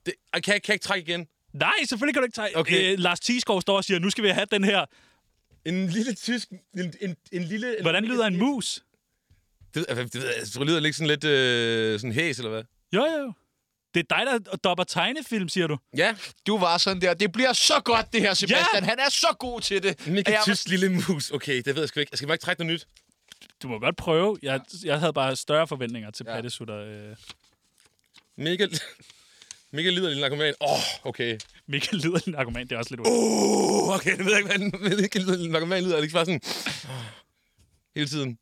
C: Det, Ej, kan, jeg, kan jeg ikke trække igen?
A: Nej, selvfølgelig kan du ikke tage...
C: Okay.
A: Okay. Øh, Lars Thiesgaard står og siger, nu skal vi have den her.
C: En lille tysk... En, en, en lille...
A: Hvordan lyder en mus?
C: Det, ved- altså, det, ved jeg- det lyder ikke sådan lidt øh, sådan hæs, eller hvad?
A: Jo, jo. Det er dig, der dopper tegnefilm, siger du.
C: Ja,
B: Du var sådan der, det bliver så godt, det her, Sebastian.
A: Ja!
B: Han er så god til det.
C: mega
B: Og jeg var-
C: tysk lille mus. Okay, det ved jeg sgu ikke. Jeg skal bare ikke trække noget nyt.
A: Du må godt prøve. Jeg, jeg havde bare større forventninger til ja. pattesutter. Øh,
C: Mega, mega lider lille narkoman. Åh, oh, okay.
A: Mikkel lyder en argument, det er også lidt uh.
C: Uh, okay, det ved jeg ikke, hvordan mega lider lille narkoman lyder. Er det ikke bare sådan... åh, hele tiden.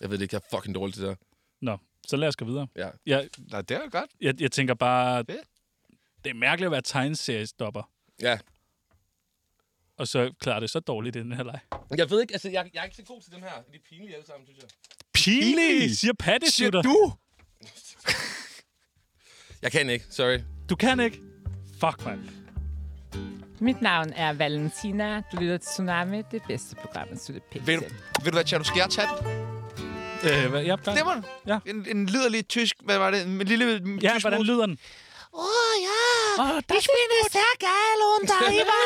C: Jeg ved det ikke, jeg er fucking dårlig til det der.
A: Nå, så lad os gå videre.
C: Ja.
A: Jeg,
B: Nå, det er godt.
A: jeg, jeg tænker bare...
B: Fedt.
A: Det er mærkeligt at være tegneseriestopper.
C: Ja.
A: Og så klarer det så dårligt i den her leg.
C: Jeg ved ikke, altså, jeg, jeg er ikke så god til dem her. De er pinlige alle sammen, synes jeg.
A: Pinlig, siger
B: Siger
A: pattesutter. Du?
B: du?
C: Jeg kan ikke, sorry.
A: du kan ikke. Fuck, mand.
I: Mit navn er Valentina. Du lytter til Tsunami, det bedste program, at slutte pænt
B: Ved du,
I: til.
B: ved du hvad, Tjerno, skal jeg tage den?
A: Øh, hvad, ja,
B: Det må du.
A: Ja.
B: En, en liderlig tysk, hvad var det? En lille
A: ja,
B: tysk
A: hvordan
B: mus.
A: lyder den?
B: Oh ja, oh, ich bin sehr geil und arriba,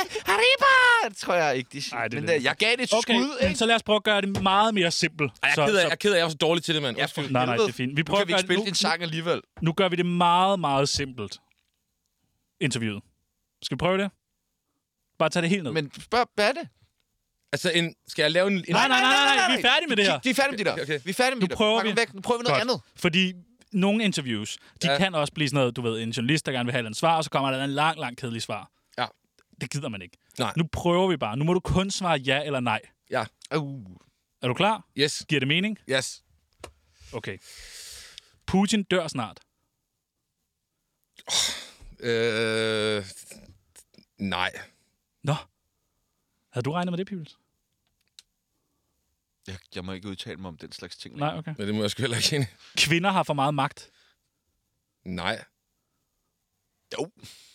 B: øh, arriba. Det tror jeg ikke, de siger.
A: Ej, det er
B: Men
A: lidt-
B: øh, jeg gav det et
A: Okay,
B: skud,
A: men
B: ikke?
A: så lad os prøve at gøre det meget mere simpelt.
C: Ej, jeg,
A: så,
C: er ked af,
A: så,
C: jeg er ked af, at jeg er så dårlig til det, mand.
B: Ja,
C: Undskyld.
B: for
A: nej, nej,
B: helvede.
A: det er fint. Vi
B: Nu
A: prøver
B: kan vi ikke
A: at gøre
B: spille
A: det,
B: din
A: nu,
B: sang alligevel.
A: nu gør vi det meget, meget simpelt. Interviewet. Skal vi prøve det? Bare tage det helt ned.
B: Men spørg, hvad er det?
C: Altså, en, skal jeg lave en... en
A: nej, nej, nej, nej, nej, vi er færdige med det her.
B: Vi er færdige med det der.
C: Okay, okay.
B: Vi er færdige med
A: Nu
B: det der.
A: prøver
B: Pak
A: vi-
B: den Væk. Nu prøver vi noget andet.
A: Fordi nogle interviews, de
C: Ja.
A: ja. kan også blive sådan noget, du ved, en journalist, der gerne vil have et eller andet svar, og så kommer der en lang, lang kedelig svar.
C: Ja.
A: Det gider man ikke.
C: Nej.
A: Nu prøver vi bare. Nu må du kun svare ja eller nej.
C: Ja,
B: Uh.
A: Er du klar?
C: yes,
A: Giver det mening?
C: yes.
A: Okay. Putin dør snart.
C: Øh, nej.
A: Nå. Havde du regnet med det, Pibels?
B: Jeg, jeg må ikke udtale mig om den slags ting.
A: Nej, okay.
C: Men det må jeg sgu heller ikke ind.
A: Kvinder har for meget magt.
C: Nej,
A: Du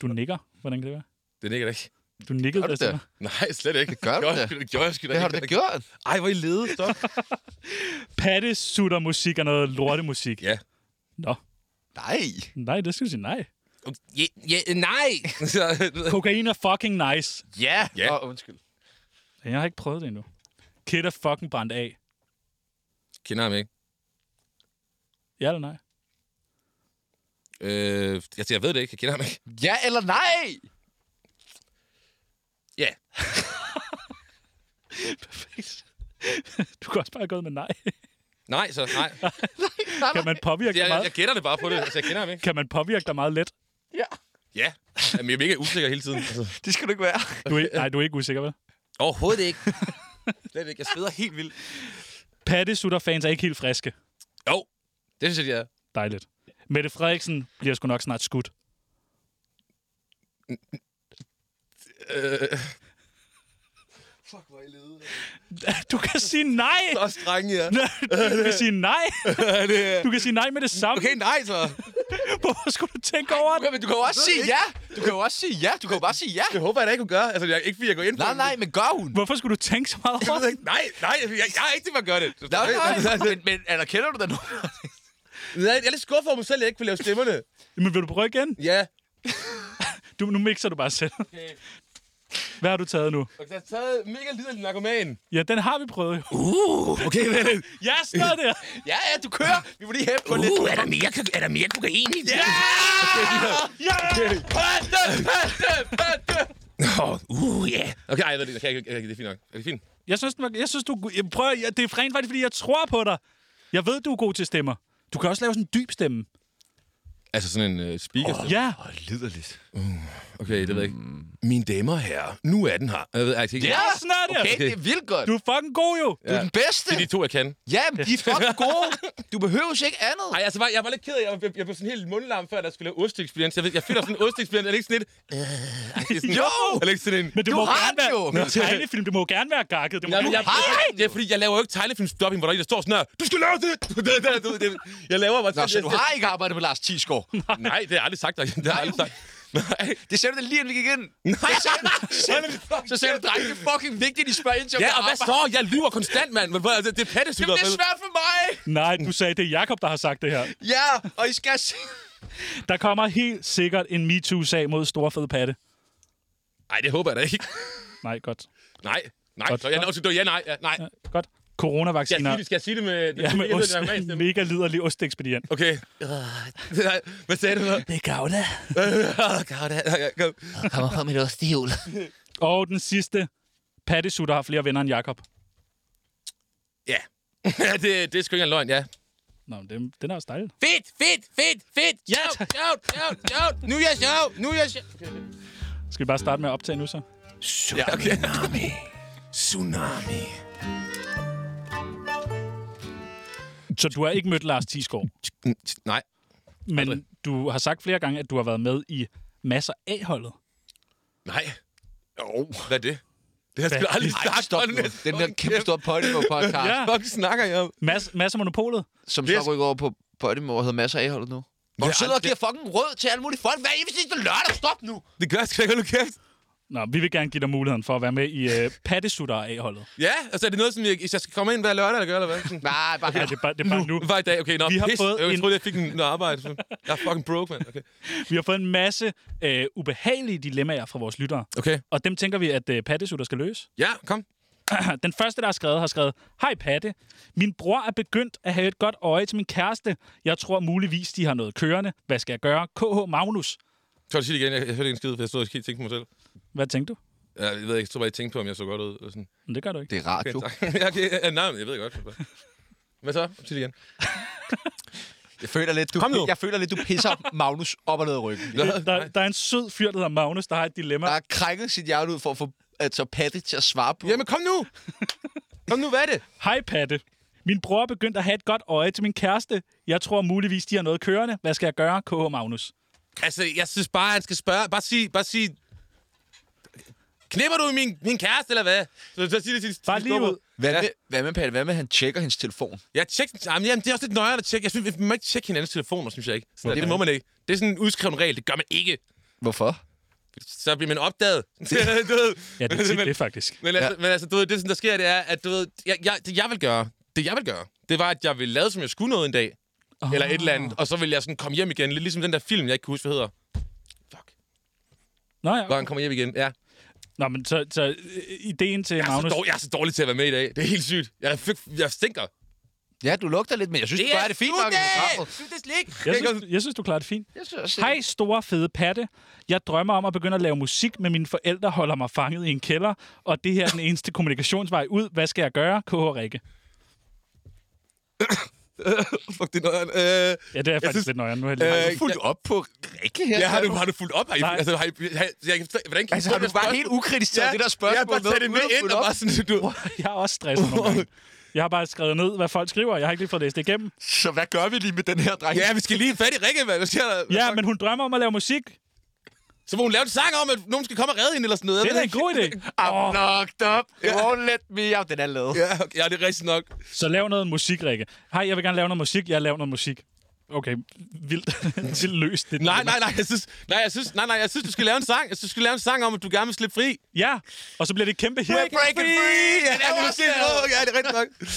A: nikker. Hvordan kan det være?
C: det ligger det ikke.
A: Du nikkede
B: Gør du
A: der til
B: det?
A: mig.
C: Nej, slet ikke.
B: gør du
C: gjorde jeg
B: da.
C: sgu da. Det gjorde jeg sgu da
B: Hvad har
C: ikke.
B: du da gjort?
C: Ej, hvor I lede. Stop.
A: Pattesuttermusik er noget lortemusik.
C: Ja.
A: Nå,
B: Nej.
A: nej, det skal du sige nej.
C: ja, ja, nej. Så,
A: Kokain er fucking nice.
B: Ja.
C: Ja.
B: Åh, undskyld.
A: Jeg har ikke prøvet det endnu. Kid er fucking brændt af.
C: Kender ham ikke.
A: Ja eller nej?
C: Øh, altså, jeg ved det ikke. Jeg kender ham ikke.
B: Ja eller nej?
C: Ja.
A: Du kan også bare have gået med nej.
C: Nej, så nej.
B: Nej,
A: Kan man påvirke
C: Ah, Jeg,
A: dig
C: jeg,
A: meget?
C: jeg gætter det bare på det. Altså, jeg kender ham ikke.
A: Kan man påvirke dig meget let?
C: Ja. Jamen, jeg er mega usikker hele tiden. Altså.
B: Det skal du ikke være.
A: Du er, ikke- nej, du er ikke usikker, vel?
C: Overhovedet ikke. Slet ikke. Jeg sveder helt vildt.
A: Pattesutter-fans er ikke helt friske.
C: Jo, det synes jeg, de er.
A: Dejligt. Mette Frederiksen bliver sgu nok snart skudt.
C: Øh,
A: Du kan sige nej.
C: så også drenge, ja.
A: Du kan sige nej.
C: Er det-
A: Du kan sige nej med det samme.
C: Okay, nej så.
A: Hvorfor skulle du tænke over det?
B: Ja, men du kan jo også sige ja. Du kan jo også sige ja. Du kan jo bare sige ja.
C: Det håber jeg da ikke, hun gør. Altså, jeg, ikke fordi jeg går ind for
B: Nej,
C: det.
B: nej, men gør hun?
A: Hvorfor skulle du tænke så meget
C: Jeg
A: over
C: ved
A: det?
C: ikke- Nej, nej, jeg, jeg er ikke til, at gøre det.
B: Nej, nej, men, men eller kender du da nogen?
C: Nej, jeg er lidt skuffet over mig selv, at jeg ikke vil lave stemmerne.
A: Men vil du prøve igen?
C: Ja.
A: Du, nu mixer du bare selv.
C: Okay.
A: Hvad har du taget nu?
C: Og så har jeg taget mega liderlig narkoman.
A: Ja, den har vi prøvet jo.
C: Uh, okay, hvad er det?
A: Ja, står der.
B: Ja, ja, du kører. Vi må lige hæppe på uh, lidt.
C: er der mere, er der mere kokain i det? Ja!
A: Ja!
B: Patte, patte, patte.
C: Uh, ja. Yeah. Okay, ej, jeg ved det, okay, okay, okay, det er fint nok. Er det fint?
A: Jeg synes, den var, jeg synes du... Jeg prøver, jeg, det er rent faktisk, fordi jeg tror på dig. Jeg ved, du er god til stemmer. Du kan også lave sådan en dyb stemme.
C: Altså sådan en uh, speaker. Oh.
A: Ja.
J: Åh, liderligt.
C: Okay, det ved jeg ikke. Mm. Mine damer og herrer, nu er den her. Jeg ved, ej, jeg tænker,
A: Ja, sådan er det.
B: Okay, det er vildt godt.
A: Du er fucking god jo.
B: Du er den bedste.
C: Det er de to, jeg kan.
B: Ja, men de er fucking gode. Du behøver ikke andet.
C: Ej, altså, var- jeg var lidt ked af, jeg, jeg, jeg blev sådan helt mundlam, før der skulle lave osteksplient. Jeg, ved- jeg føler sådan en osteksplient, er det ikke sådan lidt... Øh, ej, det er sådan,
B: Jo!
C: Er det ikke sådan en...
A: Men det
B: Du
A: må
B: har
A: gerne
B: den
A: være...
B: jo.
A: Men tegnefilm, det må jo gerne være gakket. Det må,
C: Jeg, jeg,
B: har
C: jeg, det er fordi, jeg laver jo ikke tegnefilmsdopping, hvor der, er en, der står sådan her, du skal lave det! det, det, det, det. Jeg laver bare...
B: Nå, så du har ikke arbejdet med Lars Tisgaard.
C: Nej, det har jeg aldrig sagt. Det har jeg aldrig sagt. Nej.
B: Det ser du da lige, inden vi gik ind. Nej, så, så ser du, drenge, det er fucking vigtigt, at I spørger ind til, om
C: Ja,
B: jeg
C: og hvad
B: arbejder."
C: så? Jeg lyver konstant, mand. Men hvor- Det, det er pattesyder.
B: Jamen, det er svært for mig.
A: Nej, du sagde, det er Jakob, der har sagt det her.
B: Ja, og I skal se.
A: Der kommer helt sikkert en MeToo-sag mod store fede patte.
C: Nej, det håber jeg da ikke.
A: Nej, godt.
C: Nej. Nej,
A: Godt.
C: så jeg, undskyld, det var ja, nej, ja, nej.
A: Ja,
C: Skal
A: godt.
C: jeg, sige
A: Coronavacciner.
C: det, skal jeg sige det med...
A: Ja, med
C: Jeg ved,
A: ost.
C: det er en stemme.
A: Mega liderlig ostekspedient.
C: Okay. Nej, Hvad sagde du? Øh, Det er gavda.
B: Kommer fra mit ostehjul.
A: Og den sidste. Pattesutter har flere venner end Jakob.
C: Ja. Ja, det, det er sgu ikke en løgn, ja.
A: Nå, men den, den er også dejlig.
C: Fedt, fedt, fedt, fedt. Ja, sjovt, sjovt, sjovt. Nu er jeg sjov, nu er jeg sjov.
A: Skal vi bare starte med at optage nu så?
C: Ja, okay. Tsunami. Tsunami.
A: Så du har ikke mødt Lars Tisgaard,
C: Mm, Nej.
A: men du har sagt flere gange, at du har været med i masser af holdet.
C: Nej. Jo. Hvad er det? Det har jeg sgu
A: Hvad?
C: aldrig
B: Ej,
C: sagt.
B: stop nu. Den der kæmpe store Podimo podcast,
A: Ja.
C: Hvad fuck snakker jeg om?
A: Mas, masser af monopolet.
B: som
C: Det
B: så
C: er-
B: rykker over på Podimo og hedder masser af holdet nu. Hvor
C: Det
B: du
C: er
B: sidder og
C: aldrig-
B: giver fucking råd til alle mulige folk. Hvad er det sidste lørdag? Stop nu.
C: Det gør jeg sgu ikke, hold nu kæft.
A: Nå, vi vil gerne give dig muligheden for at være med i øh, pattesutter af holdet.
C: Ja, altså er det noget, som jeg, hvis jeg skal komme ind hver lørdag, eller gøre, eller hvad? Sådan,
B: Nej, bare
A: Ja, det er bare, det er bare nu.
C: Hvad i dag? Okay, nå,
A: Vi har
C: pis.
A: fået
C: jeg
A: en-
C: troede, jeg fik en noget arbejde. Så. Jeg er fucking broke, mand. Okay.
A: Vi har fået en masse øh, ubehagelige dilemmaer fra vores lyttere,
C: okay.
A: og dem tænker vi, at øh, pattesutter skal løse.
C: Ja, kom.
A: Den første, der har skrevet, har skrevet, Hej Patte, min bror er begyndt at have et godt øje til min kæreste. Jeg tror muligvis, de har noget kørende. Hvad skal jeg gøre? KH Magnus.
C: Så vil jeg sige det igen. Jeg, jeg hørte ikke en skid, for jeg stod og tænkte på mig selv.
A: Hvad tænkte du?
C: Jeg, jeg ved ikke, jeg tror bare, jeg tænkte på, om jeg så godt ud. eller Sådan.
A: Men det gør du ikke.
B: Det er radio.
C: Okay, tak. Ja, okay, ja, nej, men jeg ved godt. Hvad så? Sig det igen.
B: Jeg føler lidt, du,
C: Kom nu.
B: jeg føler lidt, du pisser Magnus op og ned af ryggen.
A: Der, der er en sød fyr, der hedder Magnus, der har et dilemma.
B: Der har krænket sit hjerte ud for at få altså, Patte til at svare på.
C: Jamen, kom nu! Kom nu, hvad er det?
A: Hej Patte. Min bror er begyndt at have et godt øje til min kæreste. Jeg tror muligvis, de har noget kørende. Hvad skal jeg gøre? KH Magnus.
C: Altså, jeg synes bare, han skal spørge. Bare sig, bare sig... Knipper du min, min kæreste, eller hvad? Så, så sig det til til
A: Bare
C: din
A: lige
C: storebror.
A: ud.
B: Hvad,
C: Ja.
B: med, hvad med Patte? Hvad med, at han tjekker hendes telefon?
C: Jeg tjek, jamen, jamen, det er også lidt nøjere at tjekke. Jeg synes, vi må ikke tjekke hinandens telefoner, synes jeg ikke. Sådan, okay. Det må man ikke. Det er sådan en udskrevet regel. Det gør man ikke.
B: Hvorfor?
C: Så bliver man opdaget. du ved.
A: Ja, det er tit
C: men,
A: det faktisk.
C: men, altså, men altså, du ved, det, som der sker, det er, at du ved, jeg, jeg, det jeg vil gøre, det jeg vil gøre, det var, at jeg ville lade, som jeg skulle noget en dag. Oh. Eller et eller
A: Ah.
C: andet. Og så ville jeg sådan komme hjem igen. Lidt ligesom den der film, jeg ikke kan huske, hvad hedder. Fuck.
A: Nå ja.
C: Hvor han kommer hjem igen. Ja.
A: Nå, men så, så øh, ideen til
C: Jeg er, så
A: Magnus...
C: dårlig, jeg er så dårlig til at være med i dag. Det er helt sygt. Jeg, er fik, jeg stinker.
B: Ja, du lugter lidt, men jeg synes, det bare, det er fint nok i programmet.
C: Det er slik.
A: Jeg synes, jeg synes, du klarer det fint.
B: Jeg synes, øh, også,
A: Hej, store fede patte. Jeg drømmer om at begynde at lave musik, men mine forældre holder mig fanget i en kælder, og det her er den eneste kommunikationsvej ud. Hvad skal jeg gøre? KH Rikke.
C: Fuck, det er noget. Øh,
A: Ja, det er jeg faktisk
C: synes-
A: lidt nøjeren. Nu har jeg
C: Øh,
A: lige...
B: Har du fuldt op på Rikke her?
C: ja, har, du, har du fulgt op? Har I,
A: Nej.
C: altså, har I, har, jeg, kan forstå- hvordan kan
B: Altså, har du bare helt ukritisk taget det der spørgsmål?
C: Jeg har bare taget det med
B: uden at
C: ind
B: følge
C: og
B: op?
C: bare sådan, du...
A: Jeg er også stresset nogle gange. Jeg har bare skrevet ned, hvad folk skriver. Jeg har ikke lige fået læst det igennem.
B: Så hvad gør vi lige med den her dreng?
C: Ja, vi skal lige have fat i Rikke, mand. Hvad sker der?
A: Ja, men hun drømmer om at lave musik.
C: Så må hun lave en sang om, at nogen skal komme og redde hende eller sådan noget.
A: Det er da en god idé.
B: I'm oh. knocked up. It won't let me out. Den er lavet.
C: Ja, okay, ja, det er rigtigt nok.
A: Så lav noget musik, Rikke. Hej, jeg vil gerne lave noget musik. Jeg laver noget musik. Okay, vildt, vildt løst. Det
C: Nej, nej, nej, jeg synes, nej, jeg synes, nej, nej, jeg synes, du skal lave en sang. Jeg synes, du skal lave en sang om, at du gerne vil slippe fri.
A: Ja, og så bliver det et kæmpe hit.
B: We're breaking free.
C: Ja, det er måske, Åh, ja, det er rigtigt nok.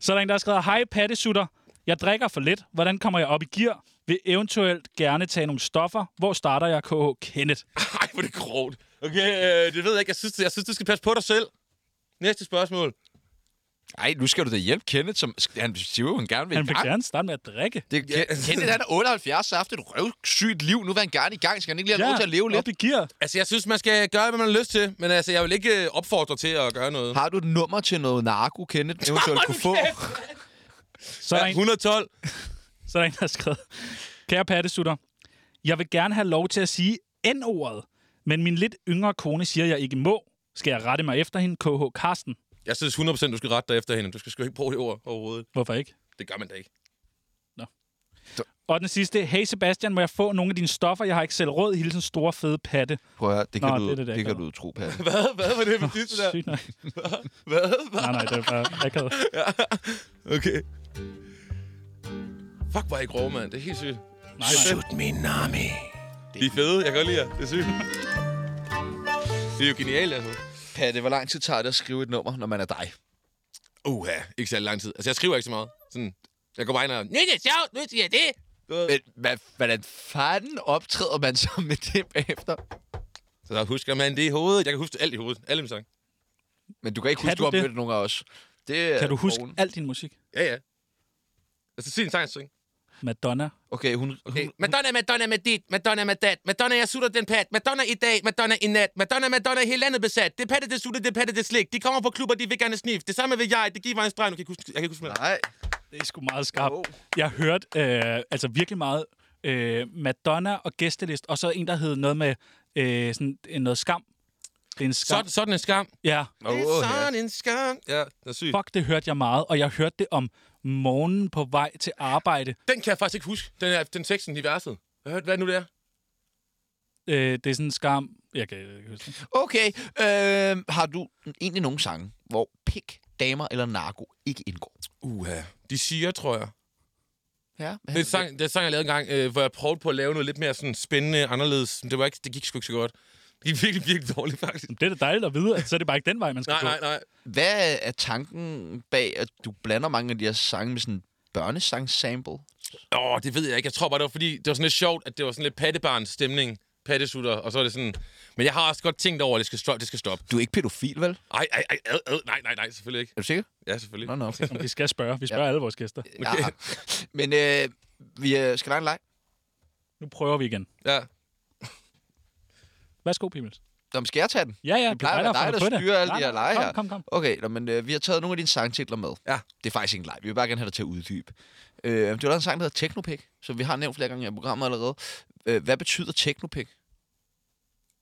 A: Så er der en, der har skrevet, Hej pattesutter, jeg drikker for lidt. Hvordan kommer jeg op i gear? Vil eventuelt gerne tage nogle stoffer. Hvor starter jeg, KH Kenneth?
C: Ej, hvor er det grovt. Okay, øh, det ved jeg ikke. Jeg synes, jeg synes, du skal passe på dig selv. Næste spørgsmål.
B: Nej, nu skal du da hjælpe Kenneth, som han siger jo, han gerne vil
A: Han
B: i
A: vil
B: gang.
A: gerne starte med at drikke.
B: Det, Ken- Kenneth, han er 78, så har haft et røvsygt liv. Nu vil han gerne i gang. Skal han ikke lige have lov til at leve lidt?
A: op i gear.
C: Altså, jeg synes, man skal gøre, hvad man har lyst til. Men altså, jeg vil ikke øh, opfordre til at gøre noget.
B: Har du et nummer til noget narko, Kenneth, eventuelt kunne få?
A: Så er der en,
C: 112.
A: så er der, en, der har skrevet, Kære pattesutter, jeg vil gerne have lov til at sige N-ordet, men min lidt yngre kone siger, jeg ikke må. Skal jeg rette mig efter hende, KH Karsten?
C: Jeg synes 100% du skal rette dig efter hende. Du skal sgu ikke bruge det ord overhovedet.
A: Hvorfor ikke?
C: Det gør man da ikke.
A: Og den sidste, Hey Sebastian, må jeg få nogle af dine stoffer? Jeg har ikke selv råd. Hilsen store fede patte.
B: Prøv at høre, det kan,
A: Nå,
B: du,
A: det er det,
B: det,
A: der
B: det
A: gør.
B: kan du tro på.
C: Hvad? Hvad var det med det der?
A: Sygt nok.
C: Hvad? Hvad?
A: Nej, nej, det er bare akavet.
C: Okay. Fuck, hvor er I grove, mand. Det er helt sygt.
A: Nej, nej.
C: De er fede. Jeg kan godt lide jer. Det er sygt. Det er jo genialt, altså.
B: Patte, hvor lang tid tager det at skrive et nummer, når man er dig?
C: Uha, ikke særlig lang tid. Altså, jeg skriver ikke så meget. Sådan, jeg går bare ind og... Nu er det sjovt, nu siger jeg det.
B: Men hvad, hvordan fanden optræder man så med det bagefter?
C: Så der husker man det i hovedet. Jeg kan huske alt i hovedet. Alle mine sange.
B: Men du kan ikke
A: Kan
B: huske, du
A: du
B: har
A: det?
B: mødt nogen af os. Det er
A: Kan du huske
B: oven.
A: al din musik?
C: Ja, ja. Altså, sig en sang, Mm. sang.
A: Madonna.
B: Okay, hun, hun,
C: Okay. Madonna, Madonna med dit, Madonna med dat, Madonna, jeg sutter den pat, Madonna i dag, Madonna i nat, Madonna, Madonna, hele landet besat, det er patte, det sutter, det er patte, det er slik, de kommer på klubber, de vil gerne snif, det samme vil jeg, det giver mig en streg, nu kan jeg ikke huske, jeg kan ikke huske mere.
B: Nej.
A: Det er sgu meget skarpt. Jeg har hørt øh, altså virkelig meget øh, Madonna og gæstelist, og så en, der hed noget med øh, sådan, øh, noget skam. Det er en skam.
C: Sådan, sådan en skam.
A: Ja,
B: Åh,
C: Det
B: ja.
C: er sådan en skam. Ja, det er sygt.
A: fuck, det hørte jeg meget, og jeg hørte det om morgenen på vej til arbejde.
C: Den kan jeg faktisk ikke huske, den, er, den teksten i verset. Hvad, hvad er det nu det er?
A: Øh, det er sådan en skam. Jeg kan jeg kan huske det.
B: Okay, øh, har du egentlig nogen sange, hvor pik, damer eller narko ikke indgår?
C: Uha. De siger, tror jeg.
B: Ja, hvad
C: Det er, en sang, det er en sang, jeg lavede engang, øh, hvor jeg prøvede på at lave noget lidt mere sådan spændende, anderledes. Men det, var ikke, det gik sgu ikke så godt. Det gik virkelig, virkelig dårligt, faktisk.
A: Det er da dejligt at vide, at så er det bare ikke den vej, man skal
C: Nej,
A: gå.
C: nej, nej.
B: Hvad er tanken bag, at du blander mange af de her sange med sådan en børnesangsample?
C: Åh, det ved jeg ikke. Jeg tror bare, det var fordi, det var sådan lidt sjovt, at det var sådan lidt pattebarns stemning. Pattesutter, og så er det sådan... Men jeg har også godt tænkt over, at det skal, stop, det skal stoppe.
B: Du er ikke pædofil, vel?
C: Ej, ej, ej, ad, ad. nej, nej, nej, selvfølgelig ikke.
B: Er du sikker?
C: Ja, selvfølgelig.
B: Nå, nå, okay.
A: Som vi skal spørge. Vi spørger ja. alle vores gæster.
B: Ja. Men øh, vi øh, skal lege en leg.
A: Nu prøver vi igen.
C: Ja.
A: Værsgo, Pimels.
B: Nå, men skal jeg tage den?
A: Ja, ja,
B: det plejer at
A: er
B: være dig,
A: dig, der har fundet
B: der
A: på det.
B: styrer alle
A: Nej,
B: de her
A: nej,
B: lege
A: kom,
B: her.
A: kom, kom.
B: Okay, nå, men øh, vi har taget nogle af dine sangtitler med.
C: Ja.
B: Det er faktisk ikke en leg. Vi vil bare gerne have dig til at uddybe. Øh, du har lavet en sang, der hedder Teknopik, som vi har nævnt flere gange i programmet allerede. Øh, hvad betyder Teknopik?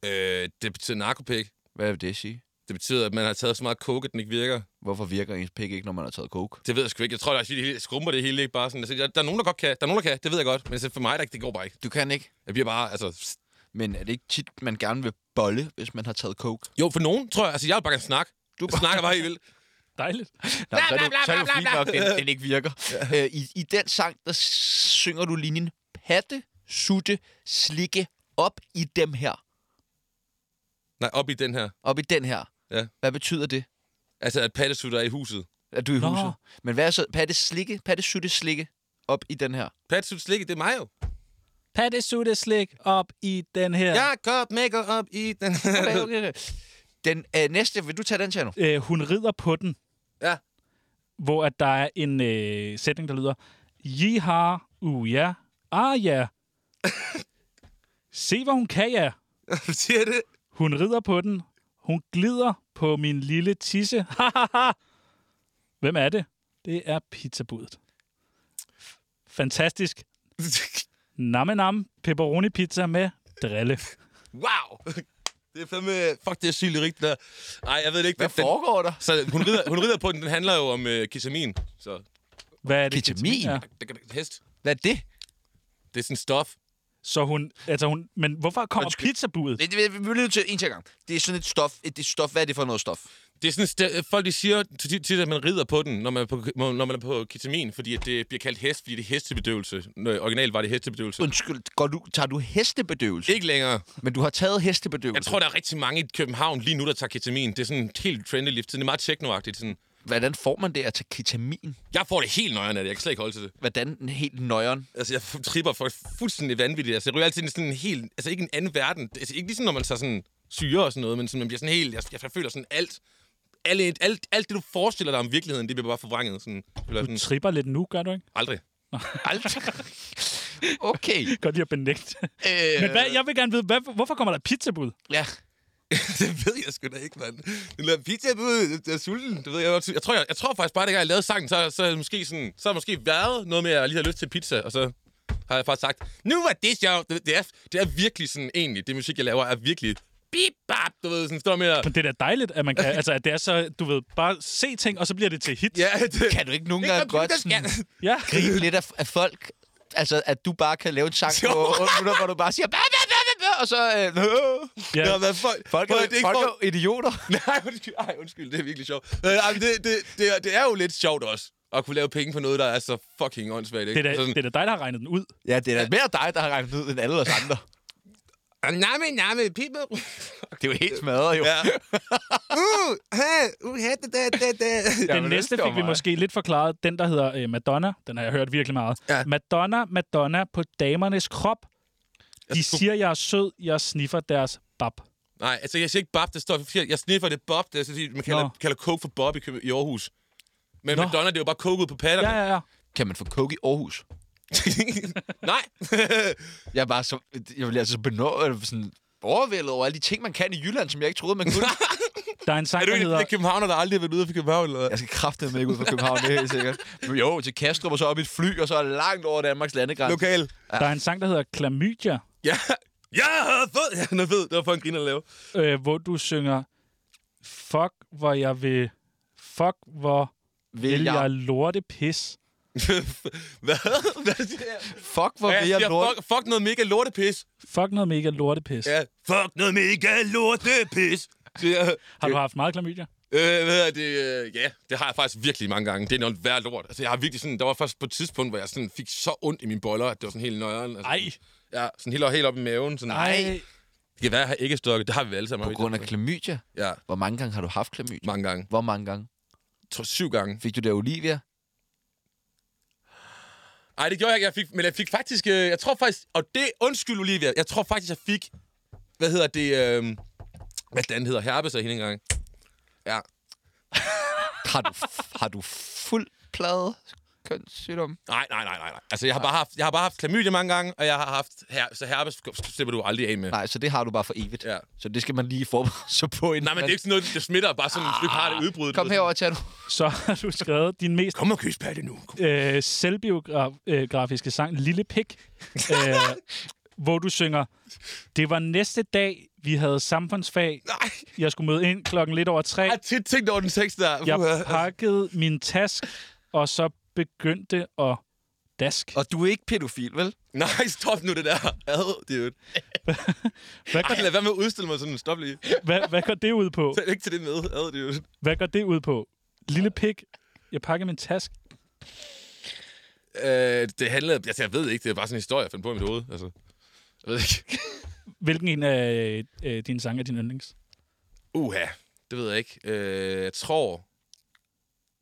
C: Øh, det betyder narkopik.
B: Hvad vil det sige?
C: Det betyder, at man har taget så meget coke, at den ikke virker.
B: Hvorfor virker ens pik ikke, når man har taget coke?
C: Det ved jeg sgu ikke. Jeg tror, at jeg skrumper det hele ikke bare sådan. Altså, jeg- der er nogen, der godt kan. Der er nogen, der kan. Det ved jeg godt. Men så for mig, der, det går bare ikke.
B: Du kan ikke.
C: Jeg bliver bare, altså...
B: Men er det ikke tit, man gerne vil bolle, hvis man har taget coke?
C: Jo, for nogen, tror jeg. Altså, jeg vil bare gerne snakke. Du
B: bare-
C: snakker bare helt vildt.
A: Dejligt.
B: Nå, så er det, jo- så er det jo fint nok, den, den ikke virker. Øh, i, I den sang, der synger du linjen, patte, sutte, slikke op i dem her.
C: Nej, op i den her.
B: Op i den her.
C: Ja.
B: Hvad betyder det,
C: Altså, at pattesutter er i huset.
B: at du er i
A: Nå.
B: huset? Men hvad er så patte, slikke, patte, sutte, slikke op i den her?
C: Pattesutter slikke, det er mig jo.
A: Patte sutte slik op i den her.
C: Jeg godt make op i den
B: Okay, okay, okay. Den øh, næste, vil du tage den, Tjerno?
A: Øh, hun rider på den.
C: Ja.
A: Hvor at der er en øh, sætning, der lyder... Jihar, uh ja, ah ja. Se, hvad hun kan, ja.
C: Du siger det.
A: Hun rider på den. Hun glider på min lille tisse. Hahaha. Hvem er det? Det er pizzabudet. Fantastisk. Namme nam, pepperoni pizza med drille.
C: wow. Det er fandme... Fuck, det er sygt rigtigt der. Nej, jeg ved det ikke.
B: Hvad
C: Den- den-
B: foregår der?
C: Så hun rider, hun rider på den, den handler jo om øh, ketamin. Så
A: Hvad er det?
B: Ketamin?
A: er?
C: det kan hest.
B: Hvad er det?
C: Det er sådan et stof.
A: Så hun, altså hun, men hvorfor kommer pizzabudet?
B: Det, det, vi bliver nødt til en til ad gang. Det er sådan et stof. Et, et stof. Hvad er det for noget stof?
C: Det er sådan, st- øh, folk de siger tit, tit, at man rider på den, når man er på, når man er på ketamin, fordi at det bliver kaldt hest, fordi det er hestebedøvelse. Nå, originalt var det hestebedøvelse.
B: Undskyld, går du, tager du hestebedøvelse?
C: Ikke længere.
B: Men du har taget hestebedøvelse.
C: Jeg tror, der er rigtig mange i København lige nu, der tager ketamin. Det er sådan helt trendy lift. Det er meget teknoagtigt. Sådan.
B: Hvordan får man det at tage ketamin?
C: Jeg får det helt nøjeren af det. Jeg kan slet ikke holde til det.
B: Hvordan helt nøjeren?
C: Altså, jeg f- tripper for fuldstændig vanvittigt. Altså, jeg ryger altid i sådan en helt... Altså, ikke en anden verden. Altså, ikke ligesom, når man tager sådan syre og sådan noget, men sådan, man bliver sådan helt... Jeg, jeg, jeg føler sådan alt... Alle, alt, alt det, du forestiller dig om virkeligheden, det bliver bare forvrænget. Sådan, eller sådan,
A: Du tripper lidt nu, gør du ikke?
C: aldrig.
B: Aldrig. Okay.
A: Godt lige at benægte.
B: Øh,
A: Men hvad, jeg vil gerne vide, hvad, hvorfor kommer der pizzabud?
B: Ja.
C: det ved jeg sgu da ikke, mand. Det lavede pizza på, jeg er sulten. Det ved jeg, godt. jeg, tror, jeg, jeg tror faktisk bare, at jeg lavede sangen, så, så, er det måske sådan, så har det måske været noget med, at jeg lige har lyst til pizza, og så har jeg faktisk sagt, nu var det sjovt. Det, det, er, det er virkelig sådan, egentlig, det musik, jeg laver, er virkelig bip bap, du ved, sådan står med at...
A: Men det er da dejligt, at man kan, altså, at det er så, du ved, bare se ting, og så bliver det til hit.
C: Ja, det,
B: Kan du ikke nogen gange godt sådan,
A: Ja.
B: grine lidt af, af folk? Altså, at du bare kan lave en sang på 8 minutter, hvor du bare siger... Bah, bah, bah, bah, bah, og så... Øh,
A: Ja.
C: Nå, hvad folk,
B: folk,
C: prøv at-
B: er,
C: det er ikke
B: folk
C: for-
B: er idioter.
C: Nej, undskyld, ej, undskyld, det er virkelig sjovt. Øh, ej, men det, det, det, er, det er jo lidt sjovt også, at kunne lave penge på noget, der er så fucking åndssvagt, ikke?
A: Det er, da,
C: sådan,
A: det er da dig, der har regnet den ud.
B: Ja, det er da mere dig, der har regnet ud, end alle os andre.
C: Namme, namme, people.
B: Det er jo helt smadret, jo.
C: Ja. uh, hey, uh, hey, da, da, da, da.
A: Den
B: men
A: næste
B: det var
A: fik vi
B: mig.
A: måske lidt forklaret. Den, der hedder øh, Madonna. Den har jeg hørt virkelig meget.
C: Ja.
A: Madonna, Madonna på damernes krop. De
C: skulle-
A: siger, jeg er sød. Jeg sniffer deres bab.
C: Nej, altså jeg siger ikke Bob, det står forkert. Jeg sniffer det Bob, det er sådan, man kalder,
A: Nå.
C: kalder Coke for Bob i, Køb- i Aarhus. Men
A: Nå.
C: Madonna, det er jo bare Coke ud på patterne.
A: Ja, ja, ja.
B: Kan man få coke i Aarhus?
C: Nej.
B: Jeg er bare så... Jeg bliver altså så benået, sådan overvældet over alle de ting, man kan i Jylland, som jeg ikke troede, man kunne.
A: Der er en
C: er
A: sang,
C: du
A: der
C: ikke
A: hedder...
C: en københavner, der aldrig har været ude for København? Eller? hvad?
B: Jeg skal kraftedeme ikke ud fra København, det er helt sikkert. Men jo, til Kastrup og så op i et fly, og så langt over Danmarks landegrænse.
C: Lokal.
A: Der er en sang, der hedder Chlamydia,
C: Ja. Ja, fed. Ja, den er fed. Det var for en griner at lave.
A: øh, hvor du synger... Fuck, hvor jeg vil... Fuck, hvor vil jeg lorte pis.
C: Hvad? Hvad siger jeg?
B: Fuck, hvor
C: Ja,
B: vil
C: jeg
B: jeg
C: siger,
B: lort...
C: fuck, fuck noget mega lortepis.
A: Fuck noget mega lortepis.
C: Ja. Fuck noget mega lortepis. Siger jeg.
A: Har du haft meget chlamydia?
C: Øh, hvad er det? øh, Ja, det har jeg faktisk virkelig mange gange. Det er noget værd lort. Altså, jeg har virkelig sådan... Der var faktisk på et tidspunkt, hvor jeg sådan fik så ondt i mine boller, at det var sådan helt nøjeren. Altså,
A: Ej.
C: Ja, sådan helt, helt op i maven. Sådan,
A: Ej.
C: Det kan være, jeg har ikke stokket. Det har vi alle sammen.
B: På
C: har vi
B: grund af
C: ikke?
B: klamydia?
C: Ja,
B: Hvor mange gange har du haft klamydia?
C: mange gange.
B: Hvor mange gange?
C: Jeg tror, syv gange.
B: Fik du det af Olivia?
C: Ej, det gjorde jeg ikke. Jeg fik, men jeg fik faktisk... øh, Jeg tror faktisk... Og det... Undskyld, Olivia. Jeg tror faktisk, jeg fik... Hvad hedder det? Øh, hvad den hedder? Herpes af hende engang. Ja.
B: Har du, har du fuld plade kønssygdom?
C: Nej, nej, nej, nej, nej. Altså, jeg har bare haft, jeg har bare haft klamydia mange gange, og jeg har haft... Her, så herpes slipper du aldrig af med.
B: Nej, så det har du bare for evigt.
C: Ja.
B: Så det skal man lige forberede sig på. Inden
C: Nej, men Ah, det
B: man-
C: er ikke sådan noget, det smitter bare sådan, hvis du ikke har det udbrud.
B: Kom herover, Tjerno.
A: Så har du skrevet din mest
C: Kom og kys patte nu. Kom.
A: øh, selvbiografiske sang Lille Pik, øh, hvor du synger, det var næste dag, vi havde samfundsfag.
C: Nej,
A: Jeg skulle møde ind klokken lidt over tre.
C: jeg har tit tænkt over den tekst der.
A: Jeg pakkede min task, og så begyndte at dask.
B: Og du er ikke pædofil, vel?
C: Nej, stop nu det der. Ad, det er jo...
A: Hvad
C: Ej,
A: går,
C: lad være med at udstille mig sådan. Stop lige.
A: hvad, hvad går det ud på?
C: Tag ikke til det med. Ad, det er jo...
A: Hvad går det ud på? Lille Pik, jeg pakkede min task.
C: Øh, det handlede... Altså, jeg ved ikke, det er bare sådan en historie, jeg fandt på i mit hoved. Altså, jeg ved ikke.
A: Hvilken en af øh, dine sange er din yndlings?
C: Uha, det ved jeg ikke. Øh, jeg tror...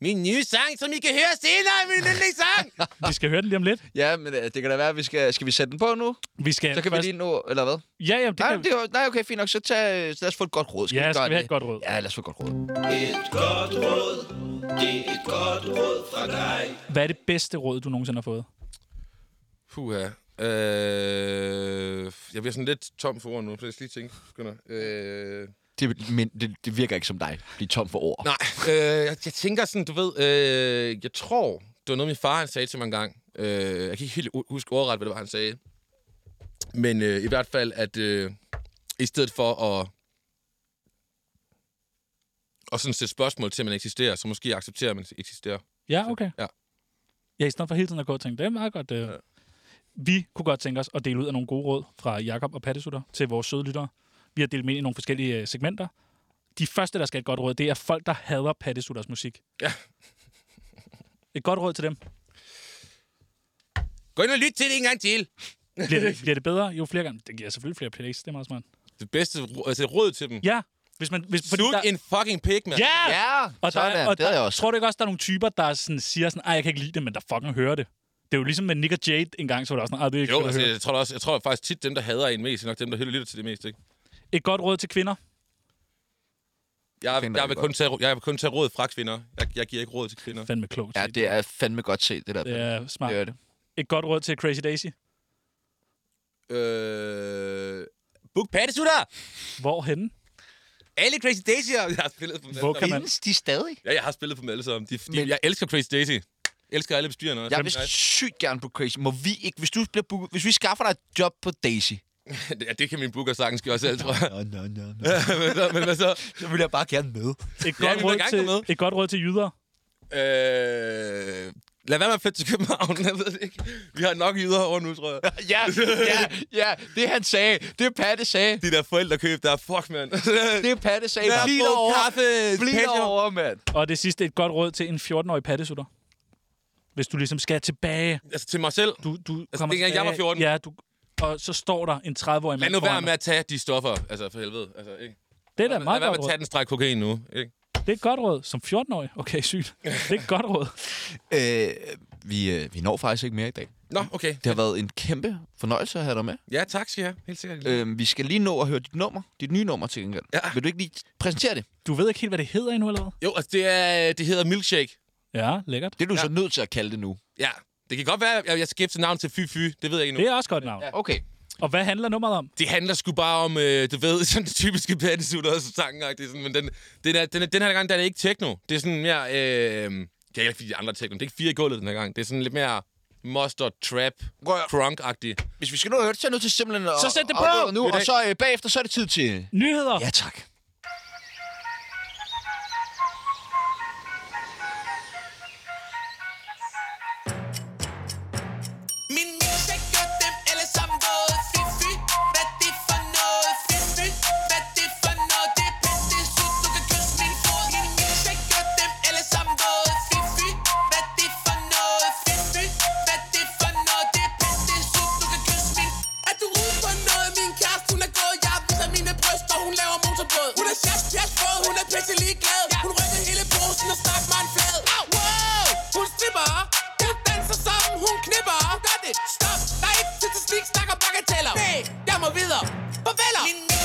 C: Min nye sang, som I kan høre senere, er min yndlingssang!
A: Vi skal høre den lige om lidt.
B: Ja, men øh, det kan da være, at vi skal... Skal vi sætte den på nu?
A: Vi skal
B: Så kan vi
A: først-
B: lige nå, eller hvad?
A: Ja, jamen, det
B: Nej,
A: kan...
B: det er, jo- nej, okay, fint nok. Så tag, øh, lad os få et godt råd.
A: Ja,
B: vi
A: skal
B: gøre
A: vi have
B: det?
A: et godt råd?
B: Ja, lad os få et godt råd.
A: Hvad er det bedste råd, du nogensinde har fået?
C: Puha. Øh, jeg bliver sådan lidt tom for ord nu, så jeg skal lige tænke. Gunnar. Øh,
B: Det, men det, det virker ikke som dig. Blive tom for ord.
C: nej, øh, jeg, jeg tænker sådan, du ved... Øh, jeg tror, det var noget, min far han sagde til mig engang. Øh, jeg kan ikke helt u- huske ordret, hvad det var, han sagde. Men øh, i hvert fald, at øh, i stedet for at og sådan sætte spørgsmål til, at man eksisterer, så måske acceptere, at man eksisterer.
A: Ja, okay.
C: Ja.
A: Ja, i stedet for hele tiden at gå og tænke, det er meget godt. Det. Ja. Vi kunne godt tænke os at dele ud af nogle gode råd fra Jakob og Pattesutter til vores søde lyttere. Vi har delt dem ind i nogle forskellige øh, segmenter. De første, der skal have et godt råd, det er folk, der hader Pattesutters musik.
C: Ja.
A: Et godt råd til dem.
C: Gå ind og lyt til det en gang til.
A: Bliver det, bliver det bedre jo flere gange? Det giver selvfølgelig flere plays, det er meget smart.
C: Det bedste ro- altså, råd til dem.
A: Ja, hvis man... Hvis, fordi
C: Sut
A: der-
C: en fucking pig, mand.
A: Ja!
B: Ja,
A: Og der,
B: sådan.
A: er- og
B: det
A: der,
B: havde jeg også.
A: Tror du ikke også, der er nogle typer, der sådan, siger sådan, ej, jeg kan ikke lide det, men der fucking hører det? Det er jo ligesom med Nick og Jade engang, så var der også sådan, ej, det er ikke
C: Jo,
A: fedt at
C: altså,
A: høre."
C: jeg tror, da også, jeg tror faktisk tit, dem, der hader en mest, er nok dem, der hylder lytter til det mest, ikke?
A: Et godt råd til kvinder.
C: Jeg,
B: finder vi
C: jeg, vil
B: godt.
C: kun tage, jeg vil kun tage råd fra kvinder. Jeg, jeg giver ikke råd til kvinder.
A: Fandme klogt.
B: Ja,
A: set.
B: det er fandme godt set, det der.
A: det er smart.
B: Det er det.
A: Et godt råd til Crazy Daisy.
C: Øh... Book pattesutter!
A: Hvorhenne?
C: Alle Crazy Daisy'er! Jeg har spillet på dem alle
A: Hvor kan
C: sammen.
A: man-
B: Findes de stadig?
C: Ja, jeg har spillet på dem alle sammen. De, de,
B: Men-
C: Jeg elsker Crazy Daisy. Elsker alle bestyrerne også.
B: Jeg vil sygt gerne på Crazy. Må vi ikke, hvis du bliver booket, hvis vi skaffer dig et job på Daisy,
C: Ja, det kan min booker sagtens gøre selv, tror jeg.
B: Nå, nå, nå, nå.
C: men, så, men hvad så?
B: så vil jeg bare gerne med.
A: Et
C: Ja,
A: godt,
C: vi må
A: råd
C: gerne gå
A: til, et godt råd til jyder.
C: Øh... Lad være med at flytte til København, jeg ved det ikke. Vi har nok yder over nu, tror jeg.
B: Ja, ja, ja, det han sagde, det Patte sagde,
C: De der forældrekøb, der er fuck, mand.
B: det Patte sagde,
C: Lad os
B: bliv
C: få
B: derovre,
C: kaffe,
B: bliv
C: patio.
B: derovre, mand.
A: Og det sidste, et godt råd til en 14-årig pattesutter. Hvis du ligesom skal tilbage.
C: Altså til mig selv.
A: Du, du altså, kommer
C: dengang jeg var 14.
A: Ja, du, og så står der en 30-årig
C: Lad
A: mand
C: nu være
A: foran
C: med
A: dig.
C: at tage de stoffer, altså for helvede. Altså, ikke?
A: Det er da
C: Lad
A: et meget
C: være
A: godt
C: med at
A: råd.
C: tage den stræk kokain nu. Ikke?
A: Det er et godt råd. Som 14-årig? Okay, sygt. Det er et godt råd.
B: Øh, vi, øh, vi når faktisk ikke mere i dag.
C: Nå, okay.
B: Det har været en kæmpe fornøjelse at have dig med.
C: Ja, tak skal jeg. Helt sikkert.
B: Øh, vi skal lige nå at høre dit nummer, dit nye nummer til gengæld.
C: Ja.
B: Vil du ikke lige præsentere det?
A: Du ved ikke helt, hvad det hedder endnu, eller hvad?
C: Jo, altså det, er, det hedder Milkshake.
A: Ja, lækkert.
B: Det er du ja. så nødt til at kalde det nu.
C: Ja, det kan godt være, at jeg skal skifte navn til Fy Fy. Det ved jeg ikke nu.
A: Det er også godt navn.
B: Okay.
A: Og hvad handler nummeret om?
C: Det handler sgu bare om, øh, du ved, sådan det typiske pattesutter og sangen. Sådan, men den, den, er, den, er, den her gang, der er det ikke techno. Det er sådan mere... Øh, det er ikke fordi de andre er techno. Det er ikke fire i gulvet den her gang. Det er sådan lidt mere mustard, trap,
B: Prøv at-
C: crunk-agtigt.
B: Hvis vi skal nå at høre det, så er jeg nødt til simpelthen at...
A: Så sæt det på!
B: at- Nu,
A: Det er
B: og så øh, bagefter, så er det tid til...
A: Nyheder!
B: Ja, tak.
G: Min milkshake gør dem alle sammen våde Fy fy, hvad det for noget Fy fy, hvad det for noget Det er pisse sut, du kan kysse min fod Min milkshake gør dem alle sammen våde Fy fy, hvad det for noget Fy fy, hvad det for noget Det er pisse sut, du kan kysse min Er du ude på noget? Min kæreste, hun er gået Jeg viser mine bryster, hun laver motorbrød Hun er sjæs, sjæs, våd, hun er pisse ligeglad Hun rykker hele posen og snakker mig en flad Au, wow, hun stripper Hun danser sammen, hun knipper Hun gør det, stop, der er ikke tid til slik, snak og bagateller Nej, jeg må videre, farveler Min Uh, Ah,